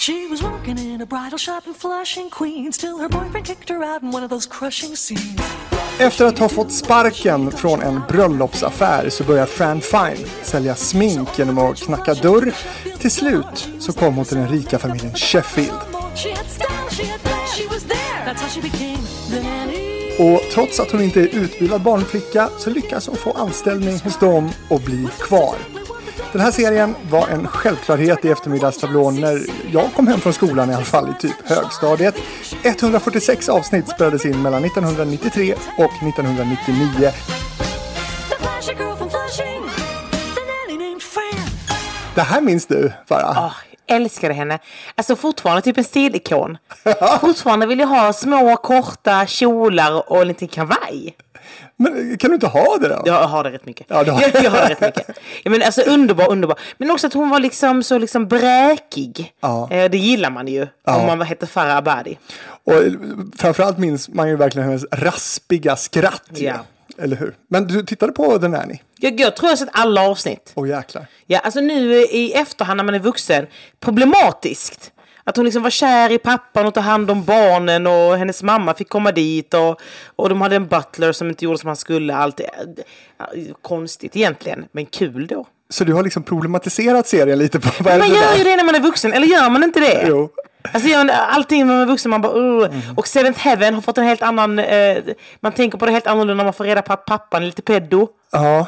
She was working in a bridal shop in Flushing, Queens, till her boyfriend kicked her out in one of those crushing scenes. Efter att ha fått sparken från en bröllopsaffär så börjar Fran Fine sälja smink genom att knacka dörr. Till slut så kom hon till den rika familjen Sheffield. She had style, she had flair, she was there. That's how she became Vanity. Och trots att hon inte är utbildad barnflicka så lyckas hon få anställning hos dem och bli kvar. Den här serien var en självklarhet i eftermiddagstablån när jag kom hem från skolan i alla fall i typ högstadiet. 146 avsnitt spelades in mellan 1993 och 1999 The flashy girl from Flushing. The nanny named Fran. Det här minns du, Farah? Ah, älskade henne. Alltså fortfarande typ en stilikon. fortfarande vill jag ha små korta kjolar och en liten kavaj. Men kan du inte ha det då? Jag har det rätt mycket. Ja, du har- jag, jag har det rätt mycket. Ja, men alltså underbar, underbar. Men också att hon var liksom så liksom bräkig. Ja. Eh, det gillar man ju. Om man hette Farah Abadi. Och eh, framförallt minns man ju verkligen hennes raspiga skratt. ju. Ja. Eller hur? Men du tittade på The Nanny? Jag, jag tror jag har sett alla avsnitt. Åh jäklar. Ja, alltså nu i efterhand när man är vuxen, problematiskt. Att hon liksom var kär i pappan och tog hand om barnen och hennes mamma fick komma dit och, och de hade en butler som inte gjorde som han skulle. Allt eh, eh, konstigt egentligen, men kul då. Så du har liksom problematiserat serien lite på vad är Man Alltså, det gör där? ju det när man är vuxen, eller gör man inte det? Jo. Mm. Alltså gör man allting när man är vuxen, man bara "Ugh." Och Seventh Heaven har fått en helt annan... Eh, man tänker på det helt annorlunda när man får reda på att pappan är lite peddo. Ja.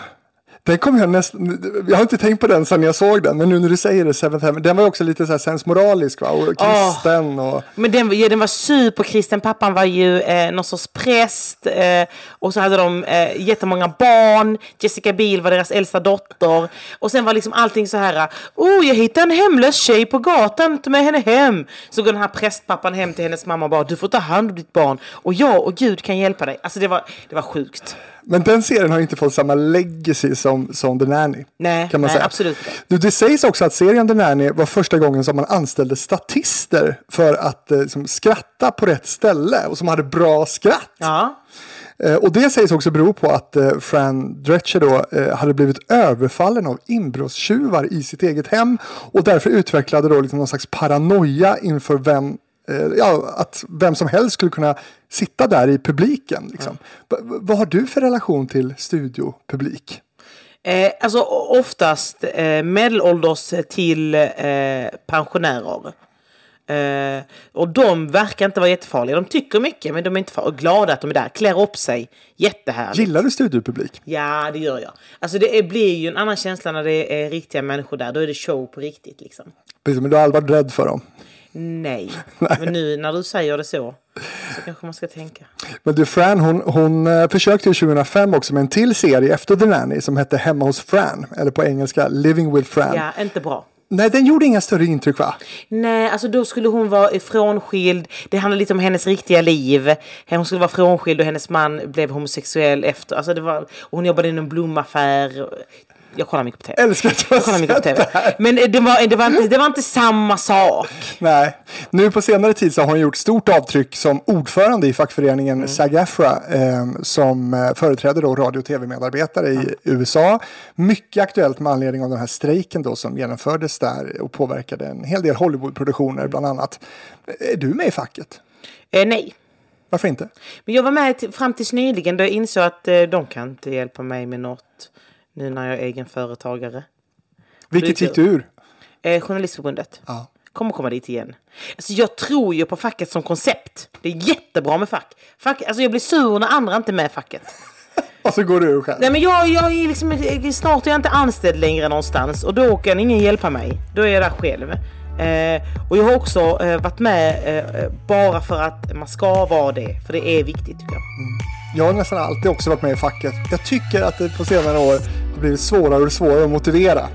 Den kom jag nästan... Jag har inte tänkt på den sedan jag såg den, men nu när du säger det, Seventh Heaven, den var ju också lite så här sensmoralisk va? Och kristen och... Men den, ja, den var superkristen. Pappan var ju eh, någon sorts präst. Eh, och så hade de eh, jättemånga barn. Jessica Biel var deras äldsta dotter. Och sen var liksom allting så här. Oh, jag hittade en hemlös tjej på gatan. Ta med henne hem. Så går den här prästpappan hem till hennes mamma och bara. Du får ta hand om ditt barn. Och jag och Gud kan hjälpa dig. Alltså det var, det var sjukt. Men den serien har inte fått samma legacy som, som The Nanny. Nej, kan man nej, säga. absolut inte. Du, det sägs också att serien The Nanny var första gången som man anställde statister för att eh, liksom, skratta på rätt ställe och som hade bra skratt. Ja. Eh, och det sägs också bero på att eh, Fran Drescher då eh, hade blivit överfallen av inbrottstjuvar i sitt eget hem och därför utvecklade då liksom någon slags paranoia inför vem eh, Ja, att vem som helst skulle kunna sitta där i publiken. Liksom. Va- va- vad har du för relation till studiopublik? Eh, alltså o- oftast eh, medelålders till eh, pensionärer. Eh, och de verkar inte vara jättefarliga. De tycker mycket men de är inte farliga. Och glada att de är där. Klär upp sig. Jättehärligt. Gillar du studiopublik? Ja, det gör jag. Alltså det är, blir ju en annan känsla när det är riktiga människor där. Då är det show på riktigt liksom. Precis, men du har aldrig varit rädd för dem. Nej. Men nu när du säger det så. Så kanske man ska tänka. Men du, Fran, hon, hon eh, försökte ju 2005 också med en till serie efter The Nanny som hette Hemma hos Fran, eller på engelska Living with Fran. Ja, inte bra. Nej, den gjorde inga större intryck va? Nej, alltså då skulle hon vara frånskild. Det handlar lite om hennes riktiga liv. Hon skulle vara frånskild och hennes man blev homosexuell efter. Alltså det var, och hon jobbade i en blomaffär. Jag kollar mycket på TV. Älskar att du Jag kollar mycket på har sett TV. det här. Men eh, det var, det, var inte, det var inte samma sak. Nej. Nu på senare tid så har hon gjort stort avtryck som ordförande i fackföreningen Mm. SAG-AFTRA eh, som eh, företräder då radio och tv-medarbetare i USA. Mycket aktuellt med anledning av den här strejken då som genomfördes där och påverkade en hel del Mm. Hollywoodproduktioner bland annat. Är du med i facket? Eh, nej. Varför inte? Men jag var med till, fram tills nyligen då jag insåg att eh, de kan inte hjälpa mig med något. Nu när jag är egen företagare. Vilket Lite. gick du ur? Eh, Journalistförbundet. Ja. Kommer komma dit igen. Alltså jag tror ju på facket som koncept. Det är jättebra med fack. fack alltså jag blir sur när andra inte är med i facket. Och så går du ur själv. Nej men jag, jag är liksom, snart är jag inte anställd längre någonstans och då kan ingen hjälpa mig. Då är jag där själv. Eh, och jag har också eh, varit med eh, eh, bara för att man ska vara det. För det är viktigt tycker jag. Jag har nästan alltid också varit med i facket. Jag tycker att det på senare år har blivit svårare och svårare att motivera eh,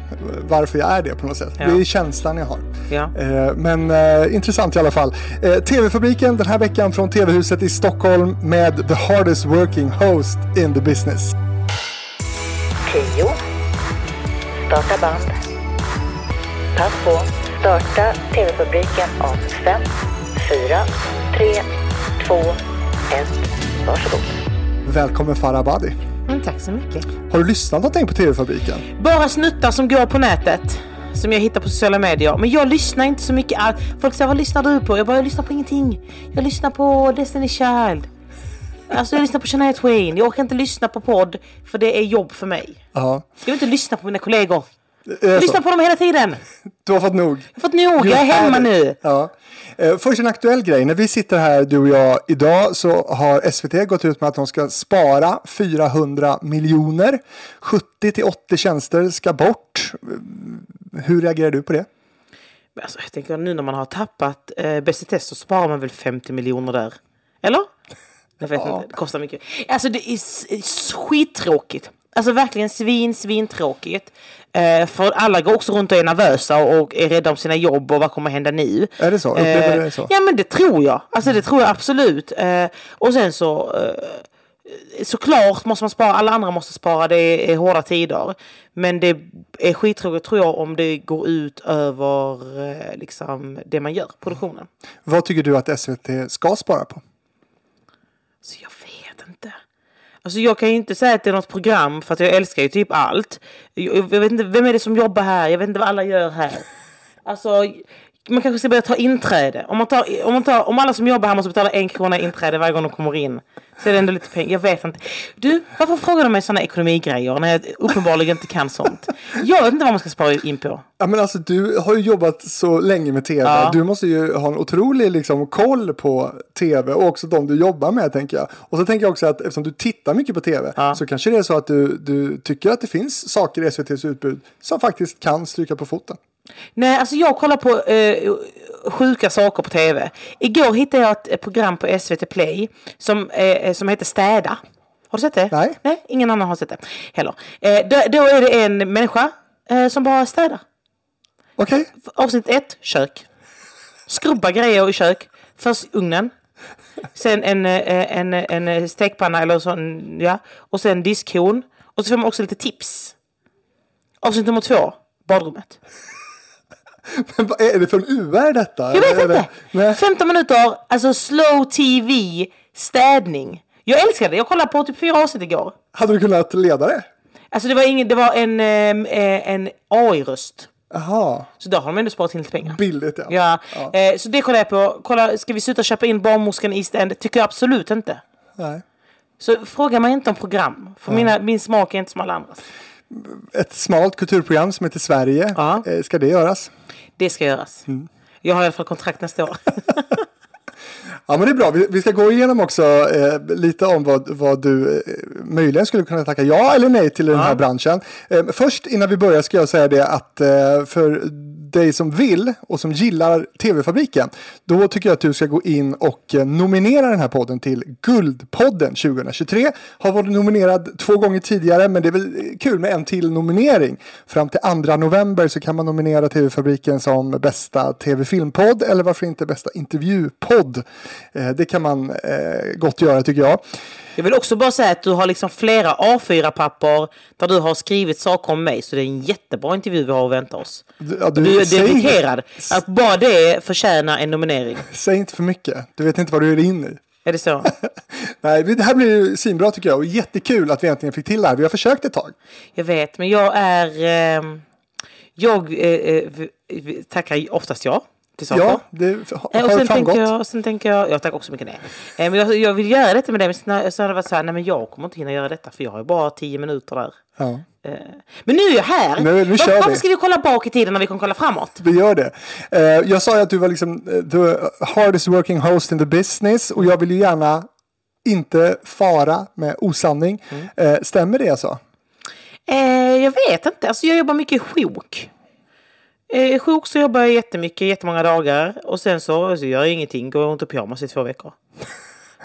varför jag är det på något sätt. Ja. Det är känslan jag har. Ja. Eh, Men eh, intressant i alla fall. Eh, TV-fabriken den här veckan från TV-huset i Stockholm med the hardest working host in the business. 10. Starta band. Pass på. Starta TV-publiken om 5, 4, 3, 2, 1. Varsågod. Välkommen Farah Badi. Men Mm, tack så mycket. Har du lyssnat någonting på TV-fabriken? Bara snuttar som går på nätet. som jag hittar på sociala medier. Men jag lyssnar inte så mycket. all- Folk säger vad lyssnar du på? Jag bara jag lyssnar på ingenting. Jag lyssnar på Destiny Child. Alltså jag lyssnar på Shania Twain. Jag orkar inte lyssna på podd för det är jobb för mig. Ja. Jag vill inte lyssna på mina kollegor. Eh, Jag så. lyssnar på dem hela tiden. Du har fått nog. Jag har fått nog. Jag är Just hemma det. nu. Ja. Eh, Först en aktuell grej. När vi sitter här, du och jag, idag så har SVT gått ut med att de ska spara 400 miljoner. 70 till 80 tjänster ska bort. Eh, Hur reagerar du på det? Men Alltså, jag tänker nu när man har tappat eh, Bäst i test så sparar man väl 50 miljoner där? Eller? Jag vet inte, det kostar mycket. Alltså det är s- s- skittråkigt. Alltså verkligen svin, svintråkigt. Eh, för alla går också runt och är nervösa och är rädda om sina jobb och vad kommer hända nu? Eh, Är det så? Upplever du det så? Ja men det tror jag. Alltså det tror jag absolut. Eh, och sen så eh, såklart måste man spara, alla andra måste spara, det är hårda tider. Men det är skittråkigt tror jag om det går ut över eh, liksom, det man gör, produktionen. Vad tycker du att SVT ska spara på? Så jag vet inte. Alltså jag kan ju inte säga att det är något program för att jag älskar ju typ allt. Jag, jag vet inte, vem är det som jobbar här? Jag vet inte vad alla gör här. Alltså, man kanske ska börja ta inträde. Om, man tar, om, man tar, om alla som jobbar här måste betala en krona i inträde varje gång de kommer in. Så är det ändå lite pengar. Jag vet inte. Du, varför frågar du mig sådana ekonomigrejer när jag uppenbarligen inte kan sånt? Jag vet inte vad man ska spara in på. Ja, men alltså, du har ju jobbat så länge med tv. Du måste ju ha en otrolig liksom, koll på tv och också de du jobbar med tänker jag. Och så tänker jag också att eftersom du tittar mycket på tv så kanske det är så att du, du tycker att det finns saker i SVTs utbud som faktiskt kan stryka på foten. Nej, alltså jag kollar på eh, sjuka saker på tv. Igår hittade jag ett program på SVT Play som, eh, som heter Städa. Har du sett det? Nej. Nej, ingen annan har sett det heller. Eh, då, då är det en människa eh, som bara städar. Okej, Avsnitt ett, kök. Skrubba grejer i kök. Först ugnen. Sen en, eh, en, en, en stekpanna eller sån, ja. Och sen diskhon. Och så får man också lite tips. Avsnitt nummer två, badrummet. men vad är det för en UR detta? Jag vet Är det- inte. Nej. 15 minuter, alltså slow tv, städning. Jag älskar det. Jag kollade på typ fyra avsnitt igår. Hade du kunnat leda det? Alltså det var, ingen, det var en, ehm, eh, en AI-röst. Jaha, Så där har de ändå sparat in lite pengar. billigt ja. Ja, Eh, så det kollar jag på. Kolla, ska vi sluta köpa in barnmorskan i East End? Tycker jag absolut inte. Nej. Så fråga mig inte om program. För mina, min smak är inte som alla andras. Ett smalt kulturprogram som heter Sverige, Ja. eh, ska det göras? Det ska göras. Mm. Jag har i alla fall kontrakt nästa år. Ja men det är bra, vi, vi ska gå igenom också eh, lite om vad, vad du eh, möjligen skulle kunna tacka ja eller nej till i den här branschen. Eh, först innan vi börjar ska jag säga det att eh, för dig som vill och som gillar TV-fabriken, då tycker jag att du ska gå in och eh, nominera den här podden till Guldpodden 2023. Har varit nominerad två gånger tidigare men det är väl eh, kul med en till nominering. Fram till 2 november så kan man nominera TV-fabriken som bästa TV-filmpodd eller varför inte bästa intervjupodd. Eh, det kan man eh, gott göra tycker jag. Jag vill också bara säga att du har liksom flera A4-papper där du har skrivit saker om mig. Så det är en jättebra intervju vi har att vänta oss. Du, ja, Du är säg, inte, dedikerad. Att bara det förtjänar en nominering. säg inte för mycket, du vet inte vad du är in i. Är det så? Nej, det här blir ju svinbra tycker jag och jättekul att vi äntligen fick till det här. Vi har försökt ett tag. Jag vet, men jag är... ehm, jag eh, eh, v- v- tackar oftast ja till saker. Ja, det har, Eh, och har sen framgått. tänker, jag, sen tänker jag, jag tackar också mycket nej. Eh, Men jag, jag vill göra detta med dig, men sen har- sen har det varit så här, nej men jag kommer inte hinna göra detta för jag har ju bara tio minuter där. Ja. Eh, Men nu är jag här! Nu- nu Var- kör vi. Varför ska vi kolla bak i tiden när vi kan kolla framåt? Vi gör det. Eh, jag sa ju att du var liksom eh, the hardest working host in the business och jag vill ju gärna inte fara med osanning. Eh, stämmer det jag sa? Eh, jag vet inte. Alltså, jag jobbar mycket i sjok. Eh, I sjok så jobbar jag jättemycket, jättemånga dagar. Och sen så, så gör jag ingenting, går runt i pyjamas i två veckor.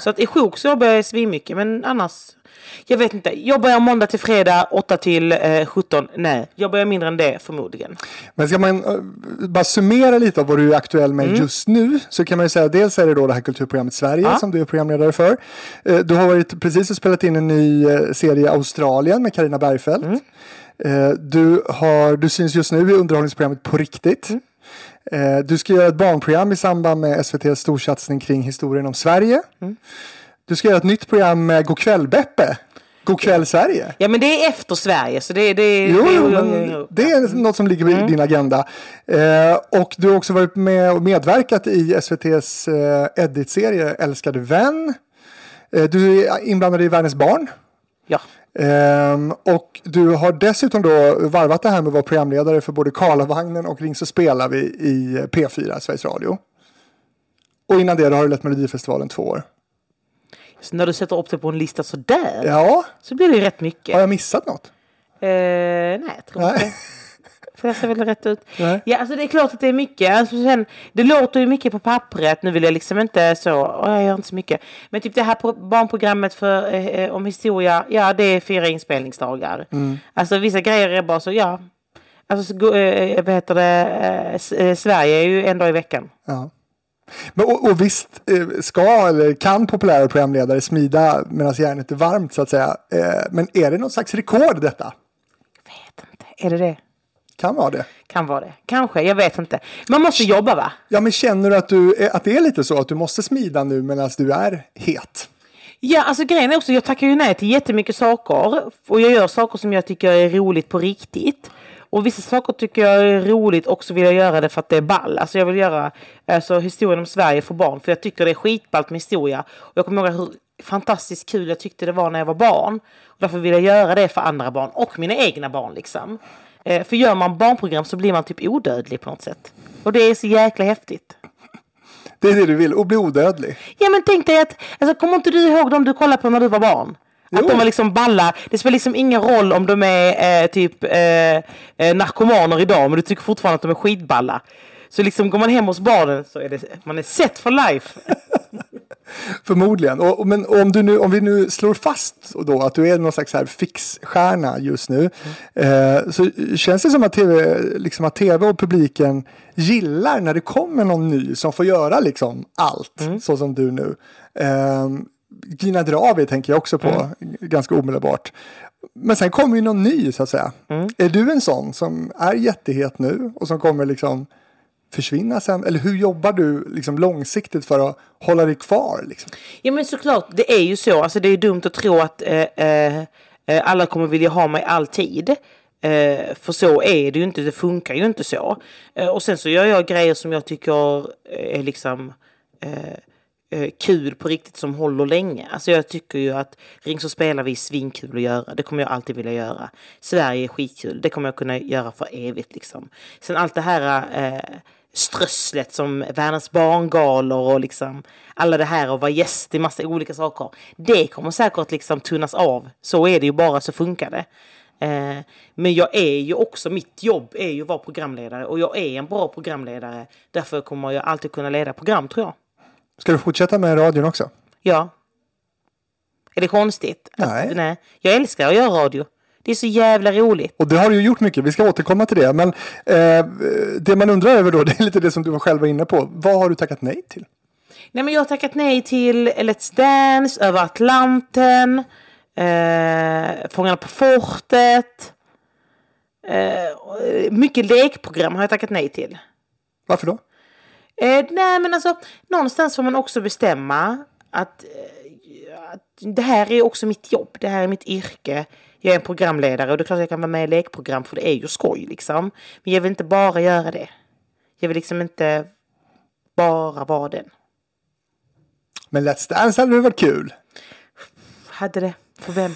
Så att i sjok så jobbar jag svinmycket, men annars... Jag vet inte. Jobbar jag måndag till fredag, 8 till eh, 17? Nej. Jobbar jag mindre än det? Förmodligen. Men ska man eh, bara summera lite av vad du är aktuell med just nu så kan man ju säga dels är det då det här kulturprogrammet Sverige som du är programledare för. Eh, du har varit precis och spelat in en ny eh, serie Australien med Karina Bergfeldt. Eh, du, har, du syns just nu i underhållningsprogrammet På riktigt. Eh, du ska göra ett barnprogram i samband med SVTs storsatsning kring historien om Sverige. Du ska göra ett nytt program med Go'kväll Beppe. Godkväll Sverige. Ja men det är efter Sverige så det, det, Jo, det, jo, men det är något som ligger på din agenda. Eh, och du har också varit med och medverkat i SVTs eh, Edit-serie Älskade vän. Eh, du är inblandad i Världens barn. Ja. Ehm, och du har dessutom då varvat det här med att vara programledare för både Karlavagnen och Ring så spelar vi i P4, Sveriges Radio. Och innan det då har du lett Melodifestivalen två år. Så när du sätter upp det på en lista sådär Ja, så blir det ju rätt mycket. har jag missat något? Eh, nej, jag tror Nej. inte. För det ser väl rätt ut. Nej. Ja, alltså det är klart att det är mycket. Alltså sen, det låter ju mycket på pappret. Nu vill jag liksom inte så, åh, jag gör inte så mycket. Men typ det här pro- barnprogrammet för, eh, eh, om historia, ja det är fyra inspelningsdagar. Mm. Alltså vissa grejer är bara så, ja. Alltså så, go- eh, vad heter det, eh, S- eh, Sverige är ju en dag i veckan. Ja. Men, och, och visst eh, ska eller kan populära programledare smida medan järnet är varmt så att säga. Eh, men är det något slags rekord detta? Jag vet inte, är det det? Kan vara det. Kan vara det. Kanske, jag vet inte. Man måste jobba va? Ja, men känner du att, du, eh, att det är lite så att du måste smida nu medan du är het? Ja, alltså grejen är också, jag tackar ju nej till jättemycket saker. Och jag gör saker som jag tycker är roligt på riktigt. Och vissa saker tycker jag är roligt och så vill jag göra det för att det är ball. Alltså jag vill göra alltså, historien om Sverige för barn. För jag tycker det är skitballt med historia. Och jag kommer ihåg hur fantastiskt kul jag tyckte det var när jag var barn. Och därför vill jag göra det för andra barn och mina egna barn liksom. Eh, för gör man barnprogram så blir man typ odödlig på något sätt. Och det är så jäkla häftigt. Det är det du vill, och bli odödlig. Ja men tänk dig att, alltså, kommer inte du ihåg dem du kollade på när du var barn? Att Jo. de var liksom balla. Det spelar liksom ingen roll om de är eh, typ eh, eh, narkomaner idag men du tycker fortfarande att de är skitballa. Så liksom går man hem hos barnen så är det, man är set for life. Förmodligen. Och, och- men om, du nu, om vi nu slår fast då att du är någon slags så här fixstjärna just nu. Eh, så känns det som att TV, liksom att TV och publiken gillar när det kommer någon ny som får göra liksom allt, så som du nu. Eh, Gina Dravi tänker jag också på g- ganska omedelbart. Men sen kommer ju någon ny så att säga. Är du en sån som är jättehet nu och som kommer liksom försvinna sen? Eller hur jobbar du liksom långsiktigt för att hålla dig kvar? Liksom? Ja men såklart, det är ju så. Alltså det är ju dumt att tro att eh, eh, eh, alla kommer vilja ha mig alltid. Eh, för så är det ju inte, det funkar ju inte så. Eh, och sen så gör jag grejer som jag tycker eh, är liksom eh, eh, kul på riktigt som håller länge. Alltså jag tycker ju att Ring så spelar vi är svinkul att göra. Det kommer jag alltid vilja göra. Sverige är skitkul. Det kommer jag kunna göra för evigt liksom. Sen allt det här eh, strösslet som Världens barngalor och liksom alla det här och vara gäst i massa olika saker. Det kommer säkert liksom tunnas av. Så är det ju bara, så funkar det. Eh, men jag är ju också, mitt jobb är ju att vara programledare och jag är en bra programledare. Därför kommer jag alltid kunna leda program tror jag. Ska du fortsätta med radion också? Ja. Är det konstigt? Att- Nej. nej. Jag älskar att göra radio. Det är så jävla roligt. Och det har du ju gjort mycket, vi ska återkomma till det. Men eh, det man undrar över då, det är lite det som du var själv var inne på. Vad har du tackat nej till? Nej, men jag har tackat nej till Let's Dance, Över Atlanten, eh, Fångarna på fortet. Eh, och, eh, mycket lekprogram har jag tackat nej till. Varför då? Eh, nej, men alltså någonstans får man också bestämma att, eh, att det här är också mitt jobb, det här är mitt yrke. Jag är en programledare och det är klart jag kan vara med i lekprogram för det är ju skoj liksom. Men jag vill inte bara göra det. Jag vill liksom inte bara vara den. Men Let's Dance hade väl varit kul? Hade det? För vem?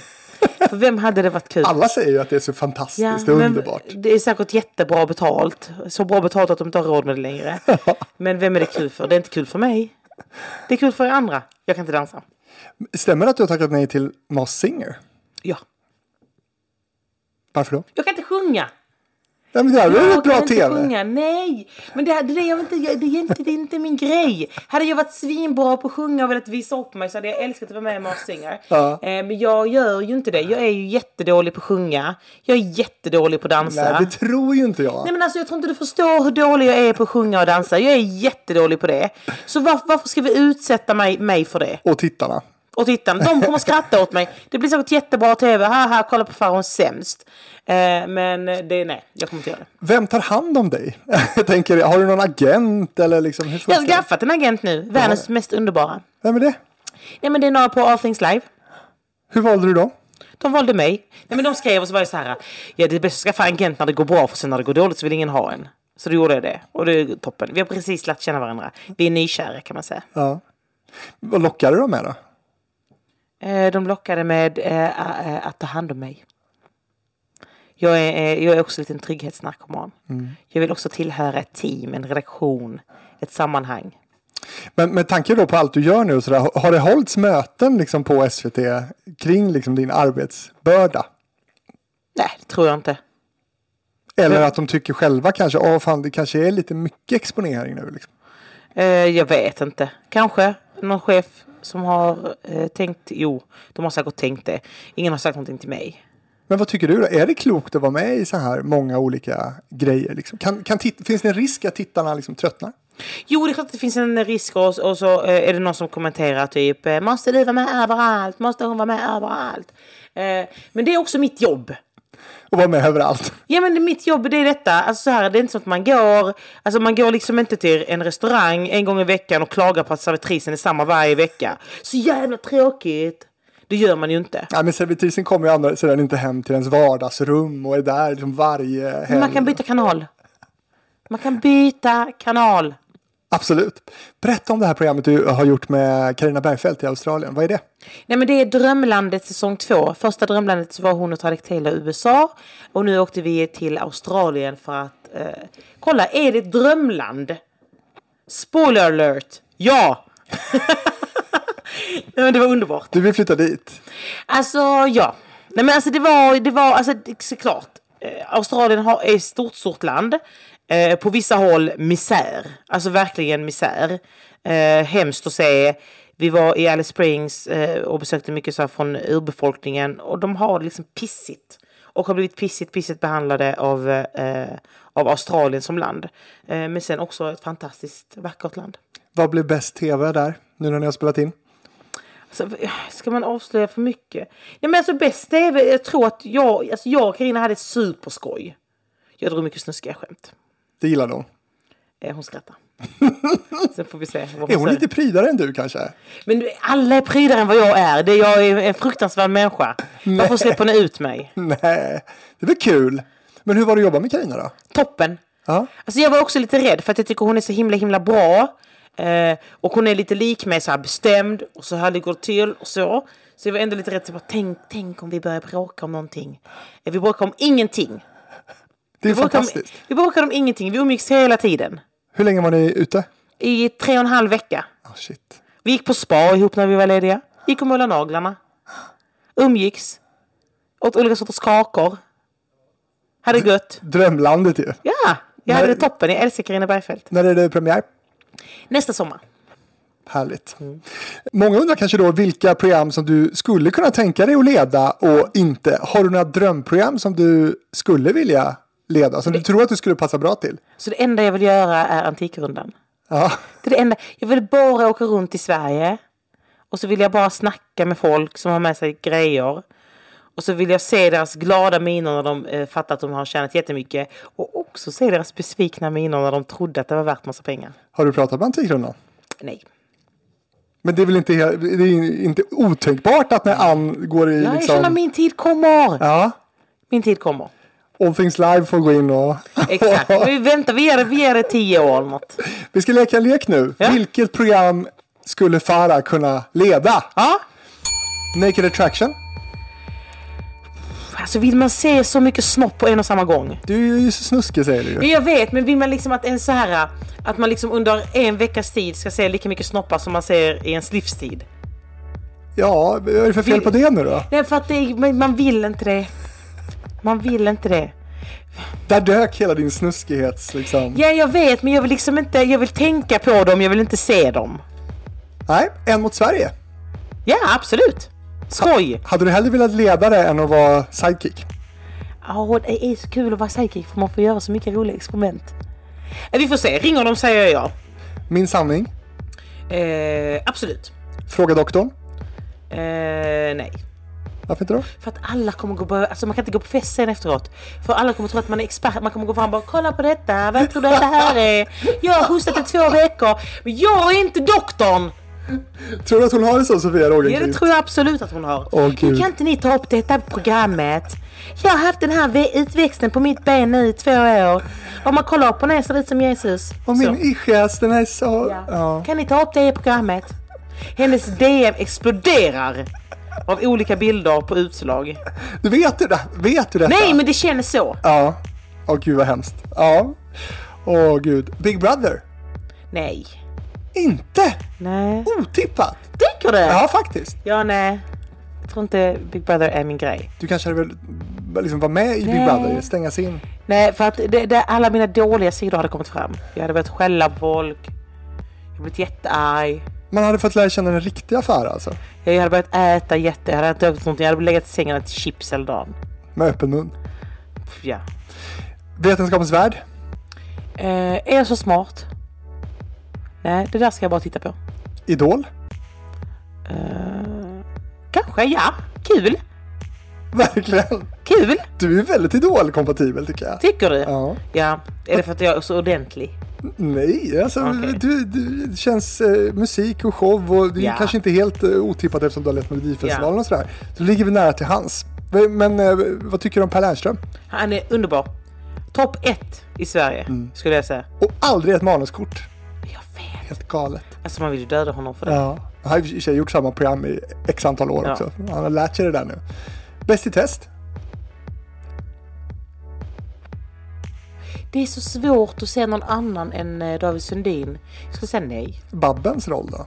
För vem hade det varit kul? Alla säger ju att det är så fantastiskt Ja, och men underbart. Det är säkert jättebra betalt. Så bra betalt att de inte har råd med det längre. Men vem är det kul för? Det är inte kul för mig. Det är kul för er andra. Jag kan inte dansa. Stämmer det att du har tackat nej till Masked Singer? Ja. Varför då? Jag kan inte sjunga. Nej, men det här är väl jag bra kan inte tv? sjunga. Nej, men det, här- det, är det, jag inte, jag- det, är inte, det är inte min grej. Hade jag varit svinbra på att sjunga och velat visa upp mig så hade jag älskat att vara med i Masked Singer. Ja. Eh, men jag gör ju inte det. Jag är ju jättedålig på att sjunga. Jag är jättedålig på att dansa. Nej, det tror ju inte jag. Nej men alltså jag tror inte du förstår hur dålig jag är på att sjunga och dansa. Jag är jättedålig på det. Så varför, varför ska vi utsätta mig, mig för det? Och tittarna. Och tittarna, de kommer skratta åt mig. Det blir säkert jättebra tv. Haha, kolla på Farahs sämst. Eh, men det, nej, jag kommer inte göra det. Vem tar hand om dig? Jag tänker, har du någon agent eller liksom? Hur Jag funkar har det? skaffat en agent nu. Världens mest underbara. Vem är det? Nej men det är några på All Things Live. Hur valde du dem? de valde mig. Nej, men de skrev och så var det så här. Ja, det är bäst att skaffa agent när det går bra för sen när det går dåligt så vill ingen ha en. Så då gjorde jag det och det är toppen. Vi har precis lärt känna varandra. Vi är nykära kan man säga. Ja. Vad lockade de med då? Eh, De lockade med eh, a- eh, att ta hand om mig. Jag är, eh, jag är också en liten trygghetsnarkoman. Jag vill också tillhöra ett team, en redaktion, ett sammanhang. Men med tanke då på allt du gör nu, och så där, har det hållits möten liksom på SVT kring liksom din arbetsbörda? Nej, det tror jag inte. Eller att de tycker själva kanske, åh fan det kanske är lite mycket exponering nu. Liksom. Eh, Jag vet inte. Kanske någon chef som har eh, tänkt, jo, de har säkert tänkt det. Ingen har sagt någonting till mig. Men vad tycker du då? Är det klokt att vara med i så här många olika grejer? Liksom? Kan, kan titt- finns det en risk att tittarna liksom tröttnar? Jo, det är klart att det finns en risk och, och så eh, är det någon som kommenterar typ eh, Måste du vara med överallt? Måste hon vara med överallt? Eh, Men det är också mitt jobb. Och vara med överallt? Ja men det- mitt jobb det är detta. Alltså så här, det är inte så att man går, alltså man går liksom inte till en restaurang en gång i veckan och klagar på att servitrisen är samma varje vecka. Så jävla tråkigt. Det gör man ju inte. Ja, men servitrisen kommer ju andra sidan inte hem till ens vardagsrum och är där liksom varje helg. Men man kan byta kanal. Man kan byta kanal. Absolut. Berätta om det här programmet du har gjort med Carina Bergfeldt i Australien. Vad är det? Nej men det är Drömlandet säsong två. Första Drömlandet så var hon och Tarek Taylor i USA. Och nu åkte vi till Australien för att eh, kolla, är det ett drömland? Spoiler alert! Ja! Nej, men det var underbart. Du vill flytta dit. Alltså ja. Nej men alltså det var, det var alltså det- såklart. Eh, Australien har, är ett stort, stort land. Eh, på vissa håll misär. Alltså verkligen misär. Eh, hemskt att se. Vi var i Alice Springs eh, och besökte mycket så här från urbefolkningen och de har det liksom pissigt. Och har blivit pissigt, pissigt behandlade av, eh, av Australien som land. Eh, men sen också ett fantastiskt vackert land. Vad blev bäst tv där? Nu när ni har spelat in. Så, Alltså, ska man avslöja för mycket? Nej men alltså bäst det är väl, jag tror att jag, alltså jag och Carina hade superskoj. Jag drog mycket snuskiga skämt. Det gillar de. Eh, Hon skrattar. Sen får vi se. vad Är hon säger. lite prydare än du kanske? Men du, alla är prydare än vad jag är. Det, jag är en fruktansvärd människa. Varför släpper ni ut mig? Nej, det blir kul. Men hur var det att jobba med Carina då? Toppen. Ja. Alltså jag var också lite rädd för att jag tycker hon är så himla himla bra. Eh, och hon är lite lik mig, så här bestämd och så här det går till och så. Så jag var ändå lite rädd, så bara, tänk, tänk om vi börjar bråka om någonting. Eh, vi bråkar om ingenting. Det är Vi bråkade, om, fantastiskt. vi bråkade om ingenting. Vi umgicks hela tiden. Hur länge var ni ute? I tre och en halv vecka. Ah shit. Vi gick på spa ihop när vi var lediga. Gick och målade naglarna. Umgicks. Åt olika sorters kakor. Hade det gött. Drömlandet ju. Ja, jag hade Nej. det toppen. Jag älskar Carina Bergfeldt. När är det premiär? Nästa sommar. Härligt. Många undrar kanske då vilka program som du skulle kunna tänka dig att leda och inte. Har du några drömprogram som du skulle vilja leda? Som du tror att du skulle passa bra till? Så det enda jag vill göra är Antikrundan. Ja. Det är det enda. Jag vill bara åka runt i Sverige. Och så vill jag bara snacka med folk som har med sig grejer. Och så vill jag se deras glada miner när de eh, fattar att de har tjänat jättemycket. Och också se deras besvikna miner när de trodde att det var värt massa pengar. Har du pratat med Antikrundan? Nej. Men det är väl inte, he- det är inte otänkbart att när Ann går i Ja, jag känner att liksom... min tid kommer. Ja, Min tid kommer. All Things Live får gå in och... Exakt. Vi väntar. Vi ger det, vi ger det tio år eller något. Vi ska leka en lek nu. Ja. Vilket program skulle Farah kunna leda? Ja. Naked Attraction? Alltså vill man se så mycket snopp på en och samma gång? Du är ju så snuskig säger du ju. Ja, jag vet, men vill man liksom att en så här att man liksom under en veckas tid ska se lika mycket snoppar som man ser i ens livstid? Ja, vad är det för fel på det nu då? Nej, för att det, är- men man vill inte det. Man vill inte det. Där dök hela din snuskighets liksom. Ja, jag vet, men jag vill liksom inte, jag vill tänka på dem, jag vill inte se dem. Nej, en mot Sverige. Ja, absolut. Skoj! Hade du hellre velat leda det än att vara sidekick? Ja, det är så kul att vara psychic för man får göra så mycket roliga experiment. Eh, Vi får se, ringer de säger jag Min sanning? ja. Eh, absolut. Fråga doktorn? Eh, nej. Varför inte då? För att alla kommer gå börja, alltså man kan inte gå på fest sen efteråt. För alla kommer tro att man är expert, man kommer gå fram och bara kolla på detta, vad tror du att det här är? Jag har hostat i två veckor, men jag är inte doktorn! Tror du att hon har det så, Sofia Ja, det Rogenkvist? tror jag absolut att hon har. Åh, nu Gud. kan inte ni ta upp detta i programmet. Jag har haft den här ve- utväxten på mitt ben nu i två år. Om man kollar upp på mig ser det ut som Jesus. Och Så. min ischias, den är så... Ja. Ja. Kan ni ta upp det i programmet? Hennes DM exploderar av olika bilder på utslag. Du vet du det? Vet du detta? Nej, men det känns så. Ja. Åh gud vad hemskt. Ja. Åh gud. Big Brother. Nej. Inte Nej. otippat. Tycker du? Ja, faktiskt. Ja, nej. Jag tror inte Big Brother är min grej. Du kanske hade väl liksom vara med i Big Nej. Brother, stängas in. Nej, för att det, det, alla mina dåliga sidor hade kommit fram. Jag hade börjat skälla på folk. Jag hade blivit jättearg. Man hade fått lära känna den riktiga affär alltså. Jag hade börjat äta jätte... Jag hade inte ätit någonting. Jag hade legat i sängen och ätit chips hela dagen. Med öppen mun. Pff, Ja. Vetenskapens värld. Eh, är jag så smart? Nej, det där ska jag bara titta på. Idol. Eh, Kanske, ja. Kul. Verkligen. Kul. Du är väldigt idolkompatibel tycker jag. Tycker du? Ja. Ja. Är det för att jag är så ordentlig? Nej, alltså Okej. du, du det känns eh, musik och show och det är Ja. kanske inte helt eh, otippat eftersom du har lett Melodifestivalen Ja. och sådär. Så det ligger vi nära till hans. Men eh, vad tycker du om Per Lernström? Han är underbar. Topp ett i Sverige, Mm. skulle jag säga. Och aldrig ett manuskort. Jag vet. Helt galet. Alltså man vill ju döda honom för det. Ja. Han har i och för sig gjort samma program i x antal år Ja. också. Han har lärt sig det där nu. Bäst i test? Det är så svårt att se någon annan än eh, David Sundin. Jag skulle säga nej. Babbens roll då?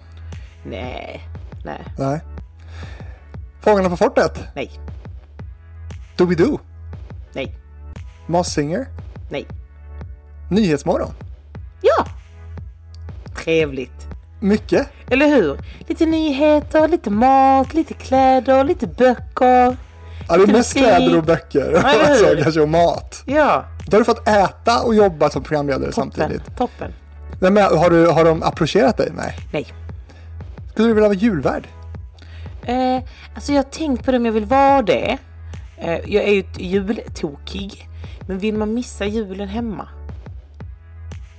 Nej. Nej. Nej. Fångarna på fortet? Nej. Doobidoo? Nej. Masked Singer? Nej. Nyhetsmorgon? Ja! Trevligt. Mycket? Eller hur? Lite nyheter, lite mat, lite kläder, lite böcker. Ja, det är Lite mest kläder och musik. böcker. eller Alltså, hur? kanske och mat. Ja, Då har du fått äta och jobba som programledare toppen. samtidigt. Toppen. Nej, men har, du, har de approcherat dig? Nej. Nej. Skulle du vilja vara julvärd? Eh, alltså jag har tänkt på det om jag vill vara det. Eh, jag är ju ett jultokig. Men vill man missa julen hemma?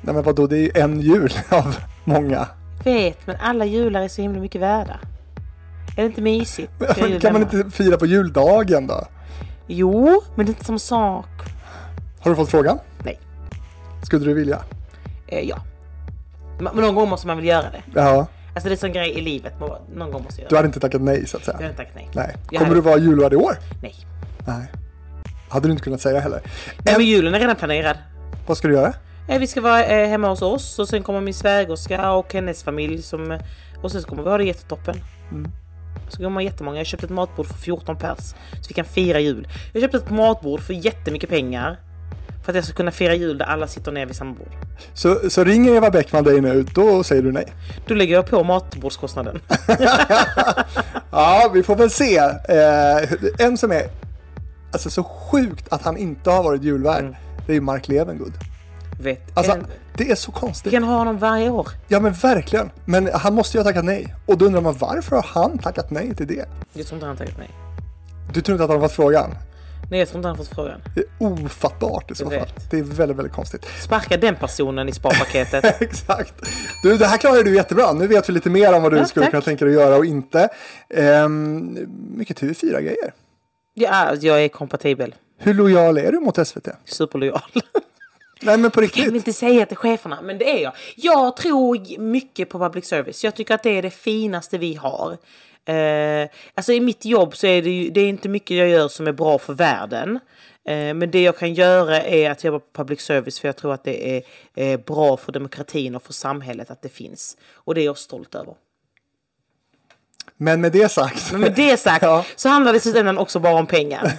Nej men vadå, det är ju en jul av många. Vet, men alla jular är så himla mycket värda. Är det inte mysigt? att göra jul Kan man hemma? inte fira på juldagen då? Jo, men det är inte samma sak. Har du fått frågan? Nej. Skulle du vilja? Eh, ja. Men men någon gång måste man väl göra det. Ja, Alltså det är en sån grej i livet. man bara- Någon gång måste jag du göra det. hade inte tackat nej så att säga. Jag har inte tackat nej. Nej. Jag Kommer hade- du vara julvärd i år? Nej. Nej. Hade du inte kunnat säga heller. Nej, En, men julen är redan planerad. vad ska du göra? Eh, Vi ska vara eh, hemma hos oss och sen kommer min svägerska och hennes familj som... eh, Och sen så kommer vi ha det jättetoppen. Mm. Så kommer man jättemånga. Jag köpte ett matbord för 14 pers. Så vi kan fira jul. Jag köpte ett matbord för jättemycket pengar. För att jag ska kunna fira jul där alla sitter ner vid samma bord. Så, så ringer Eva Bäckman dig nu, då säger du nej. Då lägger jag på matbordskostnaden. Ja, vi får väl se. Eh, en som är alltså, så sjukt att han inte har varit julvärd, Mm. det är ju Mark Levengood. Vet. Alltså, en, det är så vi konstigt. kan ha honom varje år. Ja, men verkligen. Men han måste ju ha tackat nej. Och då undrar man varför har han tackat nej till det? Jag tror inte han har tagit nej. Du tror inte att han har fått frågan? Nej, jag tror inte han har fått frågan. Det är ofattbart i så Jag fall. vet. Det är väldigt, väldigt konstigt. Sparka den personen i sparpaketet. Exakt. Du, det här klarar du jättebra. Nu vet vi lite mer om vad du Ja, skulle tack. kunna tänka dig att göra och inte. Ehm, mycket TV4-grejer. ja, jag är kompatibel. Hur lojal är du mot SVT? Superlojal. Nej, men på Jag riktigt. vill inte säga till cheferna, men det är jag. Jag tror mycket på public service. Jag tycker att det är det finaste vi har. Eh, alltså i mitt jobb så är det ju det är inte mycket jag gör som är bra för världen. Eh, men det jag kan göra är att jobba på public service för jag tror att det är eh, bra för demokratin och för samhället att det finns. Och det är jag stolt över. Men med det sagt. Men med det sagt Ja. så handlar det i slutändan också bara om pengar.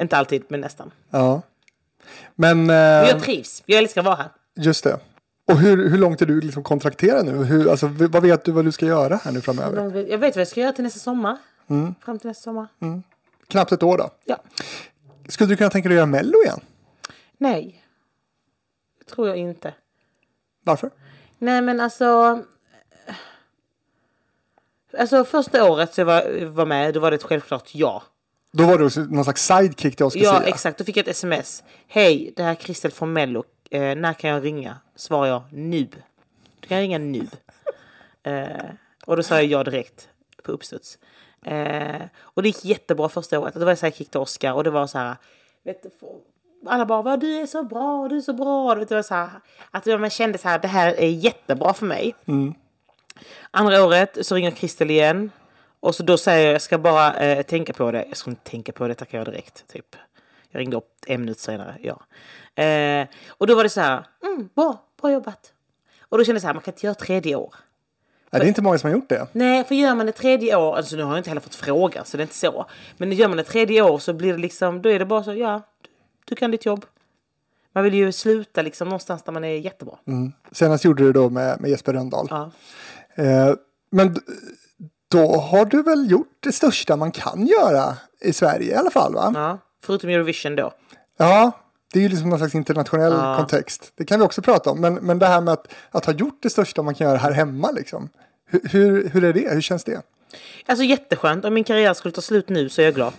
Inte alltid, men nästan. Ja. Men Men eh, jag trivs. Jag älskar att vara här. just det. Och hur, hur långt är du liksom kontrakterad nu? Hur, alltså, v- vad vet du vad du ska göra här nu framöver? Jag vet vad jag ska göra till nästa sommar. Fram till nästa sommar. Knappt ett år då. Ja. Skulle du kunna tänka dig att göra Mello igen? Nej. Det tror jag inte. Varför? Nej men alltså. Alltså första året så jag var, var med, då var det ett självklart ja. Då var du också någon slags sidekick till Oscar Ja Sia. exakt, då fick jag ett sms. Hej, det här är Christel från Mello. Eh, när kan jag ringa? Svarar jag nu. Du kan ringa nu. Eh, och då sa jag ja direkt på uppstuds. Eh, och det gick jättebra första året. Det var så här, jag gick till Oscar och det var så här... Vet, du, alla bara vad du är så bra, du är så bra. Du vet, det var så här, att man kände så här, det här är jättebra för mig. Andra året så ringer Kristel igen. Och så då säger jag, jag ska bara eh, tänka på det. Jag ska inte tänka på det, tackar jag direkt. Typ. Jag ringde upp en minut senare, ja. Eh, och då var det så här, mm, bra, bra jobbat. Och då kände jag så här, man kan inte göra tredje år. Nej, det är inte många som har gjort det. Nej, för gör man det tredje år, alltså nu har jag inte heller fått fråga så det är inte så. Men gör man det tredje år så blir det liksom, då är det bara så, ja, du, du kan ditt jobb. Man vill ju sluta liksom någonstans där man är jättebra. Senast gjorde du det då med, med Jesper Rönndahl. Ja. Eh, men d- då har du väl gjort det största man kan göra i Sverige i alla fall va? ja. Förutom Eurovision då. Ja, det är ju liksom någon slags internationell kontext. Det kan vi också prata om. Men, men det här med att, att ha gjort det största man kan göra här hemma liksom. Hur, hur, hur är det? Hur känns det? Alltså jätteskönt. Om min karriär skulle ta slut nu så är jag glad.